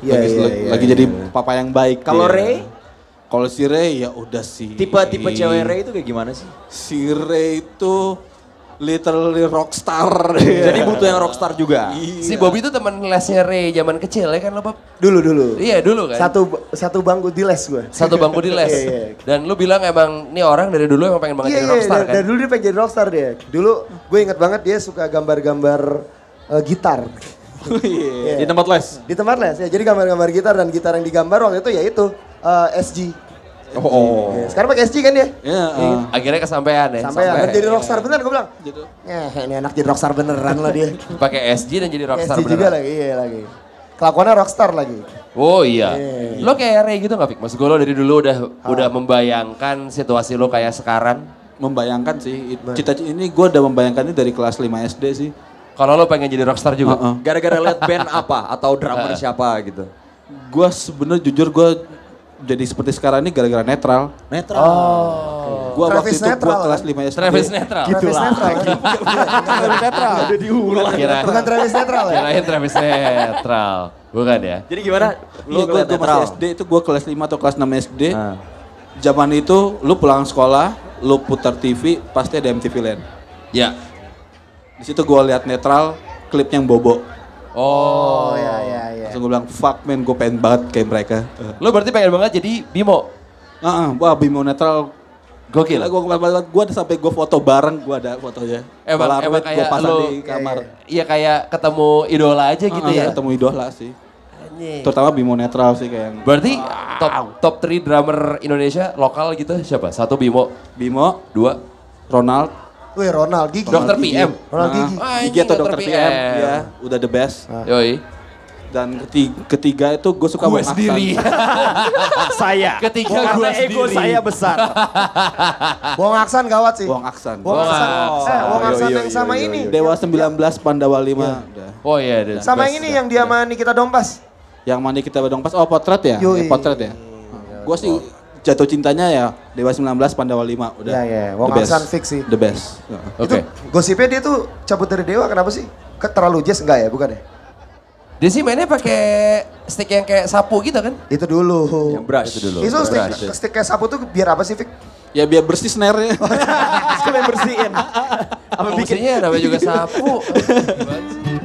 S3: Iya
S14: lagi,
S3: iya iya.
S14: lagi jadi papa yang baik.
S6: Kalau
S14: dia.
S6: Ray?
S14: Kalau si Ray ya udah sih.
S6: Tipe-tipe cewek Ray itu kayak gimana sih?
S14: Si Ray itu literally rockstar. Iya.
S6: Jadi butuh yang rockstar juga.
S5: Si Bobby itu teman lesnya Re zaman kecil ya kan lo Bob?
S3: Dulu dulu.
S5: Iya dulu kan.
S3: Satu satu bangku di les gue.
S5: Satu bangku di les.
S3: Iya, iya.
S5: Dan lu bilang emang nih orang dari dulu emang pengen
S3: Iya
S5: banget jadi
S3: iya.
S5: rockstar
S3: Dari,
S5: kan?
S3: dari dulu dia pengen jadi rockstar dia. Dulu gue inget banget dia suka gambar-gambar eh, gitar.
S15: Di
S3: Iya.
S15: tempat les.
S3: Di tempat les ya. Jadi gambar-gambar gitar dan gitar yang digambar waktu itu ya itu eh, SG.
S5: Oh.
S3: Iya, Sekarang pakai SG kan dia?
S14: Iya. eh.
S5: Akhirnya kesampaian ya.
S3: Sampai
S5: sampai.
S3: akhirnya jadi rockstar bener gue bilang.
S14: Gitu.
S3: Eh, ini anak jadi rockstar beneran lah dia.
S5: Pakai SG dan jadi rockstar
S3: SG juga
S5: beneran.
S3: lagi, iya lagi. Kelakuannya rockstar lagi.
S5: Oh iya. Lo kayak Ray gitu gak Fik? Maksud gue lo dari dulu udah
S3: Ah.
S5: udah membayangkan situasi lo kayak sekarang.
S14: membayangkan sih it- cita ini gue udah membayangkan ini dari kelas 5 SD sih
S5: Kalau lo pengen jadi rockstar
S3: Ah,
S5: juga.
S14: Heeh.
S6: Gara-gara lihat band apa atau drummer siapa gitu.
S14: gue sebenarnya jujur gue jadi seperti sekarang ini gara-gara netral netral gue waktu
S3: Travis
S14: itu gue
S3: Netral, kan?
S14: kelas 5 SD
S5: Travis netral.
S14: Gitu
S3: Travis netral. kan? Travis netral.
S5: Kirain-
S3: Bukan Travis netral ya?
S5: Kirain Travis netral. Bukan ya?
S6: Jadi gimana?
S14: Iya,
S6: Lu
S14: gue
S6: ngeliat netral?
S14: masih SD itu gue kelas 5 atau kelas 6 SD.
S6: Ah.
S14: Zaman itu lu pulang sekolah, lu putar TV, pasti ada MTV Land.
S5: Ya.
S14: Di situ gue lihat netral, klipnya yang bobo.
S5: Oh.
S3: Iya, iya, iya.
S14: Langsung gue bilang, fuck man, gue pengen banget kayak mereka. Eh.
S5: Lo berarti pengen banget jadi Bimo.
S14: Ah, ah, wah Bimo netral.
S5: Gokil.
S14: Gila, gue banget. Gue sampai gue foto bareng, gue ada fotonya.
S5: Emang,
S14: Polaroid
S5: emang
S14: gua
S5: kayak
S14: pasang
S5: lo,
S14: di kamar.
S5: Iya kayak ketemu idola aja
S14: Ah,
S5: gitu
S14: ah,
S5: ya.
S14: Ketemu idola sih. Terutama Bimo netral sih kayak yang
S5: Berarti top top 3 drummer Indonesia lokal gitu siapa? Satu Bimo,
S14: Bimo,
S5: dua
S14: Ronald,
S3: Wih, Ronald Gigi.
S5: Dokter PM.
S3: Ronald
S14: nah,
S3: Gigi.
S14: Gigi atau Dokter PM,
S6: iya.
S14: ya udah the best.
S5: Yoi.
S14: Dan ketiga, ketiga itu gue suka
S5: Gue
S14: Bang Aksan.
S5: sendiri.
S6: Saya.
S5: Ketiga
S6: Karena
S5: gua
S6: ego
S5: sendiri.
S6: saya besar.
S3: Wong Aksan gawat sih.
S14: Bang Ah. Aksan.
S3: Wong Aksan. Eh, Wong Aksan yang sama ini.
S14: Dewa 19 Pandawa 5. Udah.
S5: Oh iya. the
S3: Sama
S5: best.
S3: yang ini yang dia sama Nikita Dompas.
S14: Yang mana kita bedong pas oh potret ya?
S3: Yoi.
S14: Ya, potret ya. Gue sih jatuh cintanya ya Dewa 19 Pandawa 5 udah.
S3: Iya, iya. Wong
S14: The best.
S3: Aksan fix sih.
S14: The best. Heeh.
S5: Oke.
S3: Itu gosipnya dia tuh cabut dari Dewa kenapa sih? Ke terlalu jazz enggak ya, bukan ya?
S5: Dia sih mainnya pakai stick yang kayak sapu gitu kan?
S3: Itu dulu.
S6: Yang brush dulu.
S3: Itu stick, stick kayak sapu tuh biar apa sih, Fik?
S14: Ya biar bersih snare-nya.
S6: Sekalian bersihin.
S5: Apa bikinnya namanya juga sapu. Gimana sih?